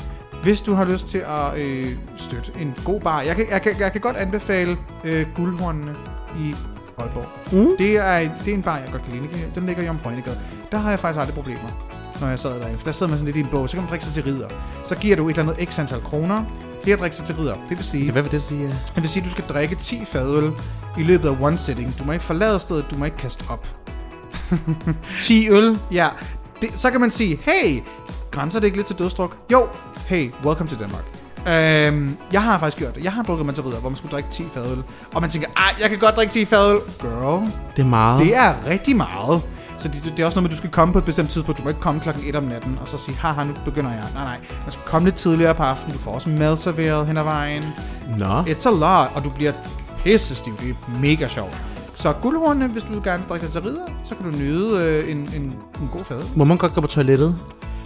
S1: Hvis du har lyst til at øh, støtte en god bar, jeg kan, jeg kan, jeg kan godt anbefale øh, guldhornene i Aalborg. Mm. Det, er, det er en bar, jeg godt kan lide. Den ligger i Jomfru Anegade. Der har jeg faktisk aldrig problemer når jeg sad derinde. For der sidder man sådan lidt i en bog, så kan man drikke sig til ridder. Så giver du et eller andet x antal kroner. Det at drikke sig til ridder, det vil sige,
S2: Ja, Hvad vil det sige?
S1: det vil sige, at du skal drikke 10 fadøl i løbet af one sitting. Du må ikke forlade stedet, du må ikke kaste op.
S2: 10 øl.
S1: Ja, det, så kan man sige, hey, grænser det ikke lidt til dødstruk? Jo, hey, welcome to Danmark. Øhm, jeg har faktisk gjort det. Jeg har drukket mig til videre, hvor man skulle drikke 10 fadøl. Og man tænker, ej, jeg kan godt drikke 10 fadøl. Girl,
S2: Det er meget.
S1: det er rigtig meget. Så det, det er også noget med, at du skal komme på et bestemt tidspunkt. Du må ikke komme klokken 1 om natten og så sige, haha, nu begynder jeg. Nej, nej. Man skal komme lidt tidligere på aftenen. Du får også mad serveret hen ad vejen.
S2: Nå.
S1: It's a lot, og du bliver pissestiv. Det er mega sjovt. Så guldhornene, hvis du gerne vil drikke dig til ridder, så kan du nyde øh, en, en, en god fad.
S2: Må man godt gå på toilettet?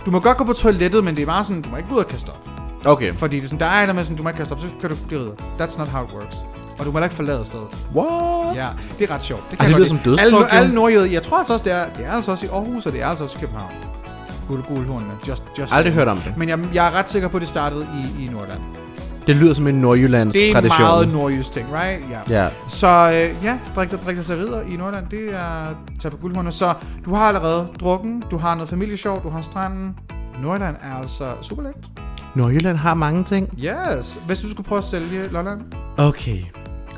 S1: Du må godt gå på toilettet, men det er bare sådan, du må ikke gå ud og kaste op.
S2: Okay.
S1: Fordi det er sådan, der er en med sådan, du må ikke kaste op, så kan du ikke blive ridder. That's not how it works. Og du må heller ikke forlade stedet.
S2: What?
S1: Ja, det er ret sjovt. Det,
S2: Ej, det
S1: jeg godt
S2: lyder som
S1: lide.
S2: dødstruk,
S1: Alle,
S2: jo.
S1: alle nordjyder, jeg tror altså også, det er, det er altså også i Aarhus, og det er altså også i København. guldgulhornene. Just, just
S2: Aldrig hørt om det.
S1: Men jeg, jeg er ret sikker på, at det startede i, i Nordland.
S2: Det lyder som en Nordjyllands
S1: Det er
S2: tradition.
S1: meget nordjysk ting, right? Ja.
S2: Ja.
S1: Så øh, ja, drik dig, drik dig til ridder i Nordland, det er tag på guldhornene. Så du har allerede drukken, du har noget familiesjov, du har stranden. Nordland er altså super lækkert.
S2: Nordjylland har mange ting.
S1: Yes. Hvis du skulle prøve at sælge Lolland?
S2: Okay,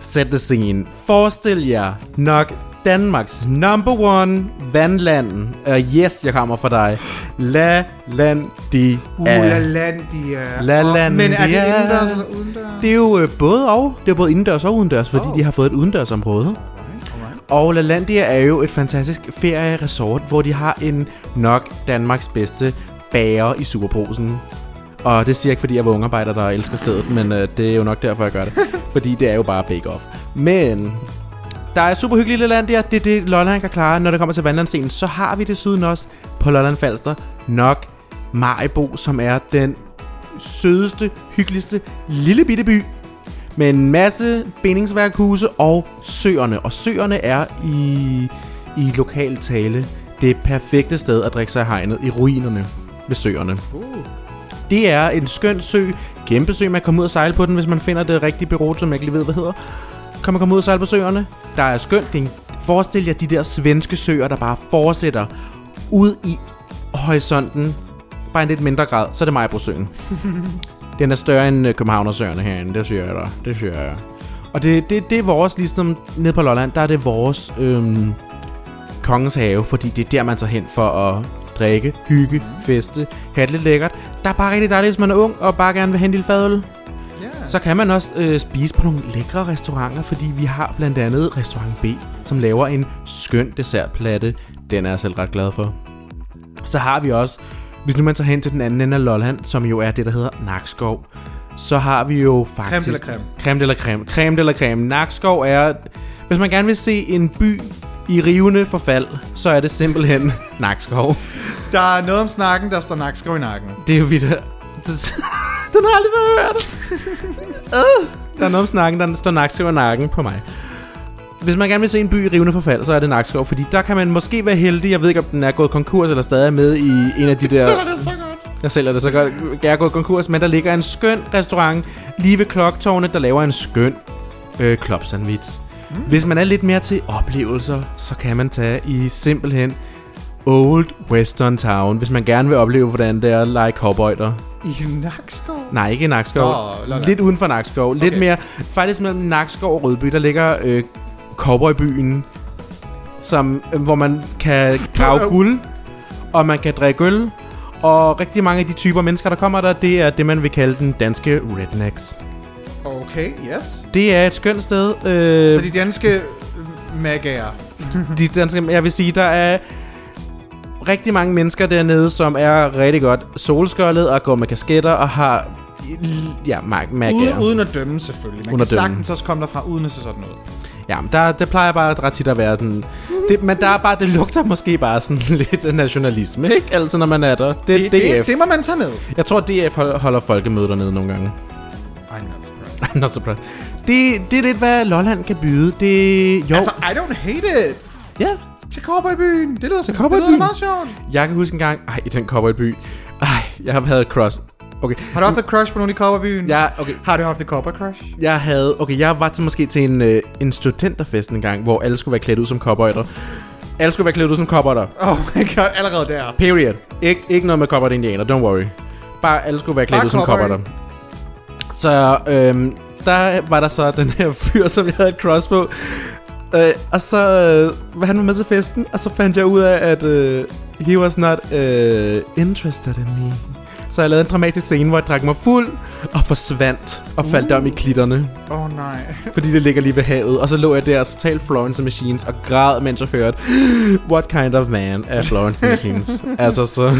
S2: set the scene. Forestil jer nok Danmarks number one vandland. Uh, yes, jeg kommer fra dig. La Landi.
S1: Ulalandia.
S2: Lalandia.
S1: Men er det indendørs eller udendørs?
S2: Det er jo øh, både og. Det er både indendørs og udendørs, fordi
S1: Oh.
S2: oh. de har fået et udendørsområde.
S1: Alright.
S2: Og Lalandia er jo et fantastisk ferieresort, hvor de har en nok Danmarks bedste bager i superposen. Og det siger jeg ikke, fordi jeg var ungarbejder, der elsker stedet, men øh, det er jo nok derfor, jeg gør det. fordi det er jo bare bake-off. Men der er et super hyggeligt lille land der. Det er det, Lolland kan klare. Når det kommer til vandlandscenen, så har vi desuden også på Lolland Falster nok Maribo, som er den sødeste, hyggeligste lille bitte by med en masse bindingsværkhuse og søerne. Og søerne er i, i lokal tale det perfekte sted at drikke sig i hegnet i ruinerne ved søerne.
S1: Uh.
S2: Det er en skøn sø, kæmpe sø, man kan komme ud og sejle på den, hvis man finder det rigtige bureau, som jeg ikke lige ved, hvad hedder. Kan man komme ud og sejle på søerne? Der er skønt. Det er en- Forestil jer de der svenske søer, der bare fortsætter ud i horisonten. Bare i en lidt mindre grad, så er det Majbrosøen. Den er større end øh, Københavnersøerne herinde, det siger jeg dig. Det siger jeg. Og det, det, det er vores, ligesom nede på Lolland, der er det vores øhm, kongens have, fordi det er der, man tager hen for at drikke, hygge, feste, have det lidt lækkert. Der er bare rigtig dejligt, hvis man er ung og bare gerne vil have en lille fadøl.
S1: Yes.
S2: Så kan man også øh, spise på nogle lækre restauranter, fordi vi har blandt andet Restaurant B, som laver en skøn dessertplatte. Den er jeg selv ret glad for. Så har vi også, hvis nu man tager hen til den anden ende af Lolland, som jo er det, der hedder Nakskov, så har vi jo faktisk...
S1: de la creme.
S2: Creme de la creme. Creme de la creme. Nakskov er... Hvis man gerne vil se en by i rivende forfald, så er det simpelthen Nakskov.
S1: Der er noget om snakken, der står nakskov i nakken.
S2: Det er jo vildt. Det- Den har jeg aldrig før hørt. Øh, der er noget om snakken, der står nakskov og nakken på mig. Hvis man gerne vil se en by i rivende forfald, så er det Nakskov, fordi der kan man måske være heldig. Jeg ved ikke, om den er gået konkurs eller stadig er med i en af de der...
S1: det så godt.
S2: Jeg sælger det så godt. Jeg er gået konkurs, men der ligger en skøn restaurant lige ved kloktårnet, der laver en skøn øh, klopsandwich. Mm. Hvis man er lidt mere til oplevelser, så kan man tage i simpelthen Old Western Town, hvis man gerne vil opleve, hvordan det er at lege cowboyter.
S1: I nakskov?
S2: Nej, ikke i Nakskov.
S1: Nå, Lolland.
S2: lidt uden for Nakskov. Okay. Lidt
S1: Okay.
S2: mere, faktisk mellem Nakskov og Rødby, der ligger øh, Cowboybyen, som, øh, hvor man kan grave
S1: Øv.
S2: guld, og man kan drikke øl. Og rigtig mange af de typer mennesker, der kommer der, det er det, man vil kalde den danske rednecks.
S1: Okay, yes.
S2: Det er et skønt sted.
S1: Så
S2: Øh,
S1: de danske øh, magager.
S2: de danske, jeg vil sige, der er rigtig mange mennesker dernede, som er rigtig godt solskoldet og går med kasketter og har... Ja, mag, mag,
S1: Ude, uden at dømme selvfølgelig. Man
S2: Uden
S1: kan
S2: at dømme.
S1: sagtens også komme derfra uden at se sådan ud.
S2: Ja, men der, det plejer bare ret tit at være den... Det, men der er bare, det lugter måske bare sådan lidt af nationalisme, ikke? Altså, når man er der. Det, det, DF.
S1: det,
S2: Det,
S1: det må man tage med.
S2: Jeg tror, DF hold- holder folkemøder dernede nogle gange.
S1: I'm not surprised.
S2: I'm not surprised. Det, det er lidt, hvad Lolland kan byde. Det, jo,
S1: Altså, I don't hate it.
S2: ja.
S1: Til Cowboybyen. Det lyder, det lyder
S2: Cowboybyen.
S1: meget sjøt.
S2: Jeg kan huske en gang... Ej, i den cowboyby. Ej, jeg har været cross. Okay.
S1: Har du haft et crush på nogen i Cowboybyen?
S2: Ja, okay.
S1: Har du haft et cowboy crush?
S2: Jeg havde... Okay, jeg var til måske til en, øh, en studenterfest en gang, hvor alle skulle være klædt ud som cowboyter. Alle skulle være klædt ud som cowboyter.
S1: Oh my god, allerede der.
S2: Period. Ik- ikke noget med cowboy indianer, don't worry. Bare alle skulle være klædt
S1: Bare
S2: ud som
S1: cowboy.
S2: cowboy. Så øhm, der var der så den her fyr, som jeg havde et cross på. Øh, og så øh, var han med til festen, og så fandt jeg ud af, at øh, he was not øh, interested in me. Så jeg lavede en dramatisk scene, hvor jeg drak mig fuld og forsvandt og faldt om i klitterne,
S1: Åh oh, nej.
S2: fordi det ligger lige ved havet. Og så lå jeg der totalt Florence and Machines og græd, mens jeg hørte, What kind of man er Florence and Machines? altså så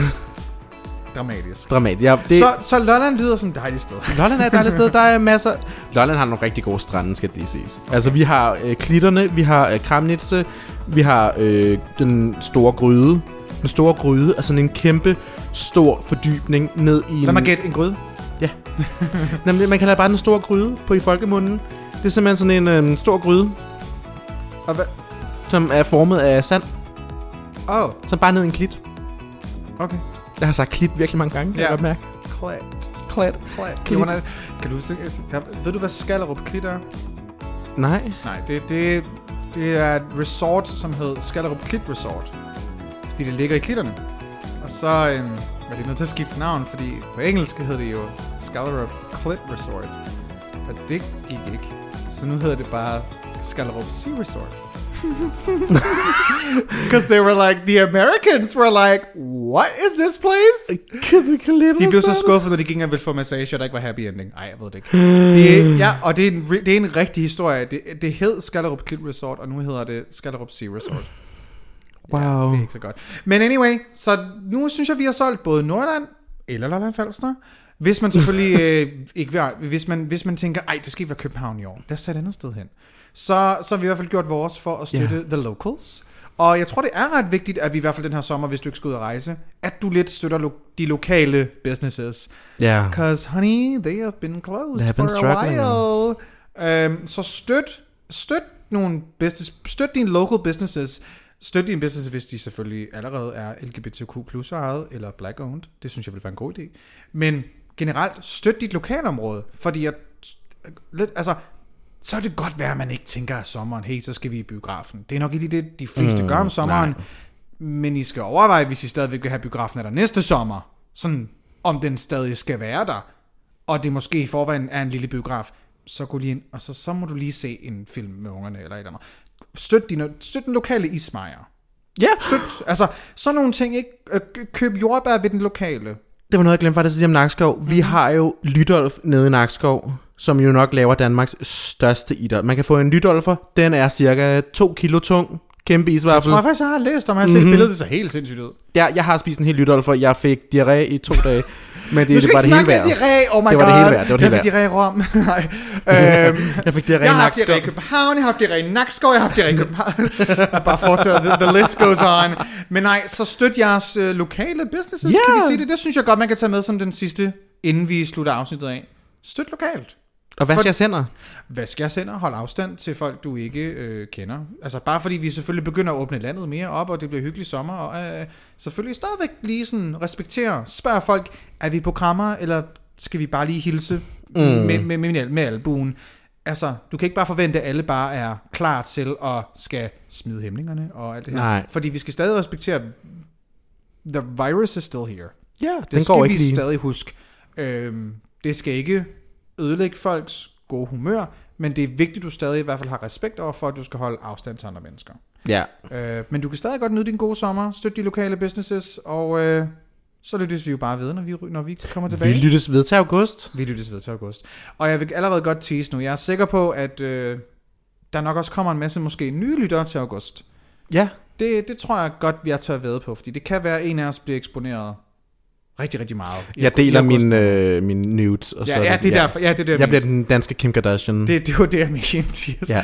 S1: Dramatisk.
S2: dramatisk. Ja, det,
S1: Det... Så,
S2: så...
S1: så Lolland lyder som et dejligt sted.
S2: Lolland er et dejligt sted. Der er masser... Lolland har nogle rigtig gode strande, skal det lige siges. Okay. Altså, vi har øh, klitterne, vi har øh, Kramnitze, vi har øh, den store gryde. Den store gryde er sådan en kæmpe, stor fordybning ned i...
S1: Lad
S2: en-
S1: mig gætte en gryde.
S2: Jamen, man kalder det bare den store gryde på i folkemunden. Det er simpelthen sådan en øh, stor gryde,
S1: Og hvad?
S2: som er formet af sand,
S1: Åh, oh,
S2: som bare er ned i en klit.
S1: okay.
S2: Jeg har sagt klit virkelig mange gange, kan ja. jeg
S1: Ja.
S2: godt mærke.
S1: Klat.
S2: Klat.
S1: Klat.
S2: Klit.
S1: Jonas, kan du huske, der, ved du, hvad Skallerup Klit er?
S2: Nej.
S1: Nej, det, det, det er et resort, som hed Skallerup Klit Resort. Fordi det ligger i klitterne. Og så øhm, var de nødt til at skifte navn, fordi på engelsk hed det jo Skallerup Klit Resort. Og det gik ikke. Så nu hedder det bare Skallerup Sea Resort. Because they were like, the Americans were like, what is this place? De blev så skuffet, når de gik engang ville få massage, og der ikke var happy ending. Nej, jeg ved det ikke. Det, ja, og det er en, ri- det er en rigtig historie. Det, det hed Skallerup Klit Resort, og nu hedder det Skallerup Sea Resort.
S2: Wow.
S1: Det er ikke så godt. Men anyway, så nu synes jeg, vi har solgt både Nordland eller Lolland Falster. Hvis man selvfølgelig øh, ikke vil, hvis man, hvis man tænker, ej, det skal ikke være København i år, lad os tage et andet sted hen. Så, så har vi i hvert fald gjort vores for at støtte
S2: Ja.
S1: yeah. the locals. Og jeg tror, det er ret vigtigt, at vi i hvert fald den her sommer, hvis du ikke skal ud og rejse, at du lidt støtter lo- de lokale businesses.
S2: Ja.
S1: Because, honey, they have been closed
S2: They have been
S1: for
S2: struggling.
S1: a while. Um, så støt, støt nogle business, støt dine local businesses. Støt dine businesses, hvis de selvfølgelig allerede er LGBTQ plus ejet eller black owned. Det synes jeg vil være en god idé. Men generelt, støt dit lokalområde, fordi at, lidt, altså, så er det godt være, at man ikke tænker af sommeren, hey, så skal vi i biografen. Det er nok ikke lige det, de fleste mm, gør om sommeren. Men I skal overveje, hvis I stadigvæk vil have biografen af der næste sommer, sådan om den stadig skal være der, og det måske i forvejen er en lille biograf, så gå lige ind, og så, så må du lige se en film med ungerne eller et eller andet. Støt, dine, støt den lokale ismejer.
S2: Ja.
S1: Støt, altså, sådan nogle ting, ikke? Øh, kø- Køb jordbær ved den lokale.
S2: Det var noget, jeg glemte faktisk at sige om Nakskov.
S1: Mm.
S2: Vi har jo Lydolf nede i Nakskov, som jo nok laver Danmarks største idol. Man kan få en Lydolfer, den er cirka 2 kilo tung, kæmpe
S1: Jeg
S2: isvaffel.
S1: tror jeg faktisk, jeg har læst om, jeg har set
S2: Mhm.
S1: mm-hmm. billedet, det ser helt sindssygt ud.
S2: Ja, jeg har spist en hel Lydolfer, jeg fik diarré i to dage, men det,
S1: Du
S2: det
S1: skal
S2: var
S1: ikke
S2: det hele
S1: snakke med
S2: værd.
S1: diarré, oh my god.
S2: Det var det hele værd, det var det hele
S1: jeg fik diarré i Rom. Nej. Øhm,
S2: Jeg fik diarré
S1: Jeg har
S2: i
S1: haft diarré i
S2: Nakskov.
S1: København, jeg har haft diarré i Nakskov, jeg har haft diarré i København. Bare fortsætter, the, the list goes on. Men nej, så støt jeres øh, lokale businesses, yeah. kan vi
S2: Ja.
S1: sige det? Det synes jeg godt, man kan tage med som den sidste, inden vi slutter afsnittet af. Støt lokalt.
S2: Og hvad skal jeg sender?
S1: Vask jeres hænder, hold afstand til folk, du ikke øh, kender. Altså bare fordi vi selvfølgelig begynder at åbne landet mere op, og det bliver hyggelig sommer, og øh, selvfølgelig stadigvæk lige sådan respektere, spørg folk, er vi på krammer, eller skal vi bare lige hilse mm. med, med, med, med albuen? Altså, du kan ikke bare forvente, at alle bare er klar til at skal smide hæmningerne og alt det her.
S2: Nej.
S1: Fordi vi skal stadig respektere, the virus is still here.
S2: Ja,
S1: Det
S2: den
S1: skal
S2: går
S1: vi
S2: ikke lige.
S1: stadig huske. Øhm, det skal ikke ødelægge folks gode humør, men det er vigtigt, at du stadig i hvert fald har respekt over for, at du skal holde afstand til andre mennesker.
S2: Ja.
S1: Øh, men du kan stadig godt nyde din gode sommer, støtte de lokale businesses, og øh, så lyttes vi jo bare ved, når vi, ry- når vi kommer tilbage.
S2: Vi lyttes ved til august.
S1: Vi lyttes ved til august. Og jeg vil allerede godt tease nu. Jeg er sikker på, at øh, der nok også kommer en masse måske nye lyttere til august.
S2: Ja.
S1: Det, det tror jeg godt, jeg tør ved på, fordi det kan være, at en af os bliver eksponeret rigtig, rigtig meget. i
S2: Jeg
S1: august- i
S2: deler
S1: august.
S2: min, øh, min nudes. Og så,
S1: Ja, ja, det er ja. derfor. Ja, det er det,
S2: Jeg
S1: jeg
S2: bliver
S1: bliver...
S2: den danske Kim Kardashian.
S1: det, det var det, jeg mente. Yes.
S2: Ja.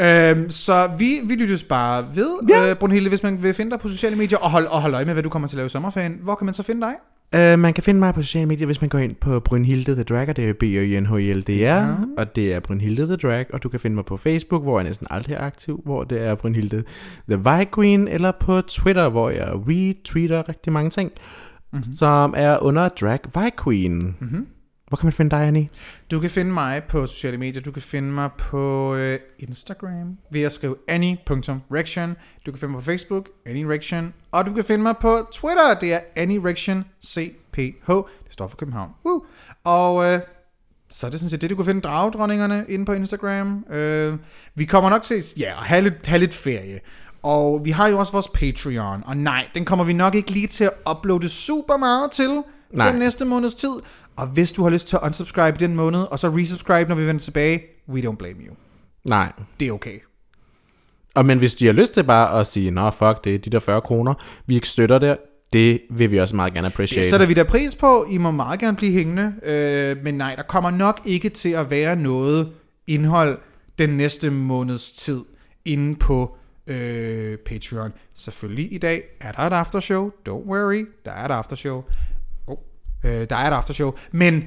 S1: Øhm, så vi, vi lyttes bare ved, ja. øh, Brunhilde, hvis man vil finde dig på sociale medier, og hold, og hold øje med, hvad du kommer til at lave i sommerferien. Hvor kan man så finde dig?
S2: Uh, man kan finde mig på sociale medier, hvis man går ind på Brynhilde The Drag, og det er b ø n h i l d r ja. og det er Brynhilde The Drag, og du kan finde mig på Facebook, hvor jeg næsten aldrig er aktiv, hvor det er Brynhilde The Vi Queen, eller på Twitter, hvor jeg retweeter rigtig mange ting, mm-hmm. som er under Drag Vi Queen. Mm-hmm. Hvor kan man finde dig, Annie?
S1: Du kan finde mig på sociale medier. Du kan finde mig på øh, Instagram ved at skrive annie.rection. Du kan finde mig på Facebook, annie.rection. Og du kan finde mig på Twitter. Det er annie.rection.cph. Det står for København. Woo! Og øh, så er det sådan set det, du kan finde dragdronningerne inde på Instagram. Øh, vi kommer nok til ja, at have lidt, have lidt ferie. Og vi har jo også vores Patreon. Og nej, den kommer vi nok ikke lige til at uploade super meget til
S2: Nej.
S1: nej. den næste måneds tid. Og hvis du har lyst til at unsubscribe den måned, og så resubscribe, når vi vender tilbage, we don't blame you.
S2: Nej.
S1: Det er okay.
S2: Og men hvis de har lyst til bare at sige, nå fuck, det er de der 40 kroner, vi ikke støtter det, det vil vi også meget gerne appreciate.
S1: Det sætter vi da pris på. I må meget gerne blive hængende. Øh, men nej, der kommer nok ikke til at være noget indhold den næste måneds tid inde på øh, Patreon. Selvfølgelig i dag er der et aftershow. Don't worry, der er et aftershow. Oh, øh, der er et aftershow. Men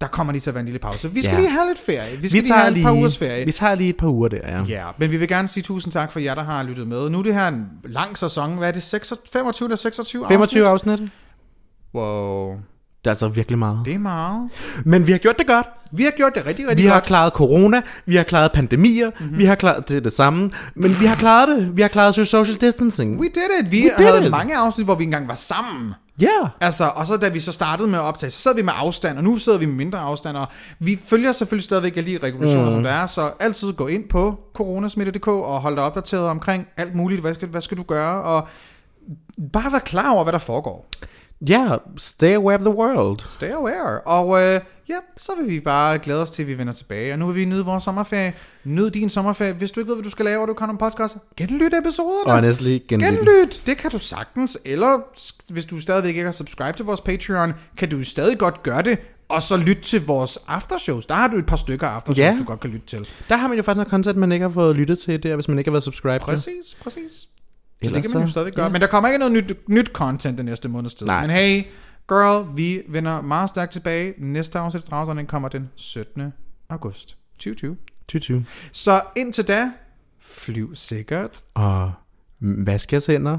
S1: der kommer lige til at være en lille pause. Vi skal
S2: Ja.
S1: lige have lidt ferie. Vi skal vi lige have lige... et par ugers ferie.
S2: Vi tager lige et par uger der, ja.
S1: Ja, men vi vil gerne sige tusind tak for jer, der har lyttet med. Nu er det her en lang sæson. Hvad er det? 26, 25 eller 26
S2: 25
S1: afsnit?
S2: afsnit.
S1: Wow.
S2: Det er altså virkelig meget.
S1: Det er meget.
S2: Men vi har gjort det godt.
S1: Vi har gjort det rigtig,
S2: Vi
S1: rigtig
S2: har
S1: godt.
S2: klaret corona, vi har klaret pandemier, mm-hmm. vi har klaret det, er det samme, men vi har klaret det. Vi har klaret social distancing.
S1: We did it. Vi
S2: We did
S1: havde
S2: it.
S1: mange afsnit, hvor vi engang var sammen.
S2: Ja. Yeah.
S1: Altså, og så da vi så startede med at optage, så sad vi med afstand, og nu sidder vi med mindre afstand, og vi følger selvfølgelig stadigvæk alle de regulationer, mm. som der er, så altid gå ind på coronasmitte.dk og hold dig opdateret omkring alt muligt, hvad skal, hvad skal du gøre, og bare være klar over, hvad der foregår.
S2: Ja, yeah. stay away of the world.
S1: Stay aware. Og øh, ja, så vil vi bare glæde os til, at vi vender tilbage. Og nu vil vi nyde vores sommerferie. Nyd din sommerferie. Hvis du ikke ved, hvad du skal lave, og du kan om podcast, genlyt episoderne.
S2: Honestly, genlyt.
S1: Genlyt, det kan du sagtens. Eller s- hvis du stadigvæk ikke har subscribed til vores Patreon, kan du stadig godt gøre det. Og så lyt til vores aftershows. Der har du et par stykker aftershows,
S2: Ja.
S1: du godt kan lytte til.
S2: Der har man jo faktisk noget content, man ikke har fået lyttet til der, hvis man ikke har været subscribed.
S1: Præcis, præcis. Så
S2: Ellers
S1: det kan man jo
S2: så-
S1: stadig gøre. Men der kommer ikke noget nyt, nyt content den næste måneds tid.
S2: Nej.
S1: Men hey, girl, vi vender meget stærkt tilbage. Næste afsnit af Dragdronningen kommer den 17. august 2020.
S2: 2020.
S1: Så indtil da, flyv sikkert
S2: Og vask jeres hænder.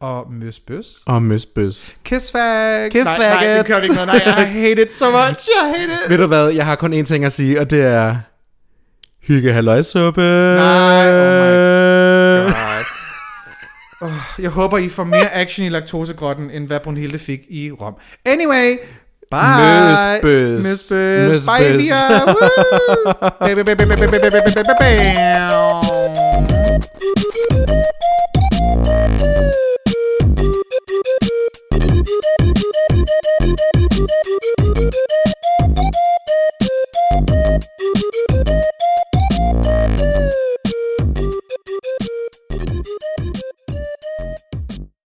S1: og møs bøs.
S2: Og møsbøs.
S1: Kiss fag.
S2: Kiss
S1: nej, nej, det
S2: faggots.
S1: kører vi ikke noget. Nej, I hate it so much. I hate it.
S2: Ved du hvad, jeg har kun én ting at sige, og det er... Hygge halløjsuppe.
S1: Nej, oh Oh, jeg håber, I får mere action i laktosegrotten, end hvad Brunhilde fik i Rom. Anyway, bye.
S2: Møsbøs.
S1: Møsbøs.
S2: Møsbøs.
S1: Bye, Via. Woo. Bam, bam, bam, bam, bam, bam, bam, bam, bam, bam.